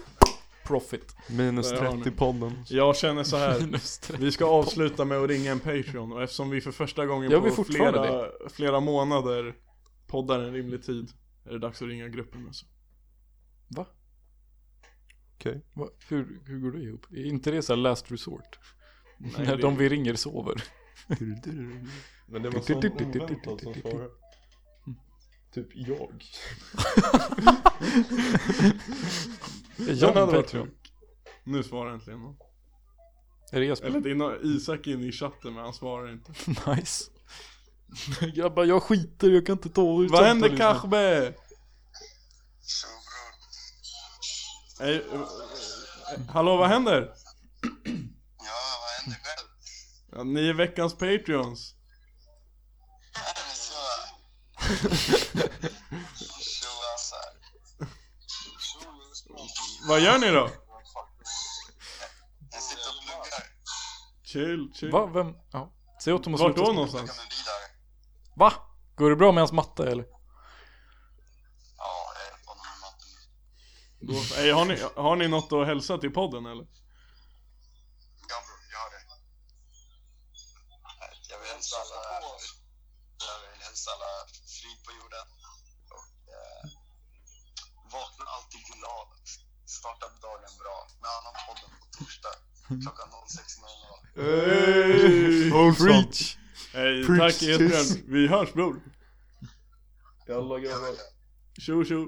Profit. Minus Där har ni. 30 podden Jag känner [LAUGHS] så här. Minus 30. Vi ska avsluta med att ringa en Patreon och eftersom vi för första gången Gör vi på fortfarande flera, flera månader poddar en rimlig tid är det dags att ringa gruppen alltså. Va? Okej. Va? Hur, hur går det ihop? Är inte det så här last resort? det När är- de vi ringer [LAUGHS] sover. Men det var sån oväntad som svarade. alltså, Typ jag John hade varit Patreon. Nu svarar äntligen någon. Är det Jesper? Eller det är nå- Isak inne i chatten men han svarar inte. [LAUGHS] Nice. Grabbar, jag skiter, jag kan inte ta ut liksom. Vad samtal händer just nu. Kachbe? Eh, eh, Hallå, vad händer? Ja, vad händer själv? Ja, Ni är veckans Patreons. Så. Så alltså. Så, Vad gör ni då? Jag sitter och pluggar. Chill, chill. Va? Vem? Ja. Säg åt dem att Vart sluta då snacka. Jag någonstans? kommer vidare. Va? Går det bra med hans matte eller? Ja, jag hjälper honom med matten. Då, eh, har, ni, har ni något att hälsa till podden eller? Ja, bror, jag har det. Jag vill hälsa alla... Jag vill hälsa alla frid på jorden. Och eh, vakna alltid glad. Starta dagen bra med annan podden på torsdag klockan 06.00. Hey! Preach! Hej, Preach, tack sis. Esbjörn. Vi hörs bror. Jalla grabbar. Tjo tjo.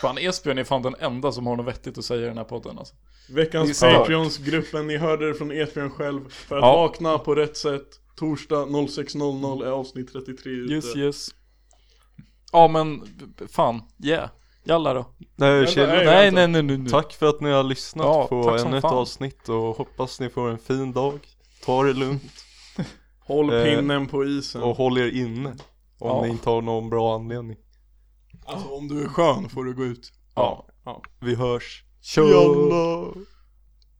Fan Esbjörn är fan den enda som har något vettigt att säga i den här podden alltså. Veckans Det är stört. Patreons-gruppen, ni hörde det från Esbjörn själv. För att Ja. vakna på rätt sätt. Torsdag 06.00 är avsnitt 33 ute. Yes yes. Ja men b- b- fan, yeah. Jalla då. Nej, Vänta, chilla. nej. Nej nej nej nej. nej. Tack för att ni har lyssnat Ja, på tack som ännu ett fan. avsnitt och hoppas ni får en fin dag. Ta det lugnt Håll Eh, pinnen på isen. och håll er inne. Om Ja. ni inte har någon bra anledning. Alltså om du är skön får du gå ut. Ja. Vi hörs. Tjo! Jalla!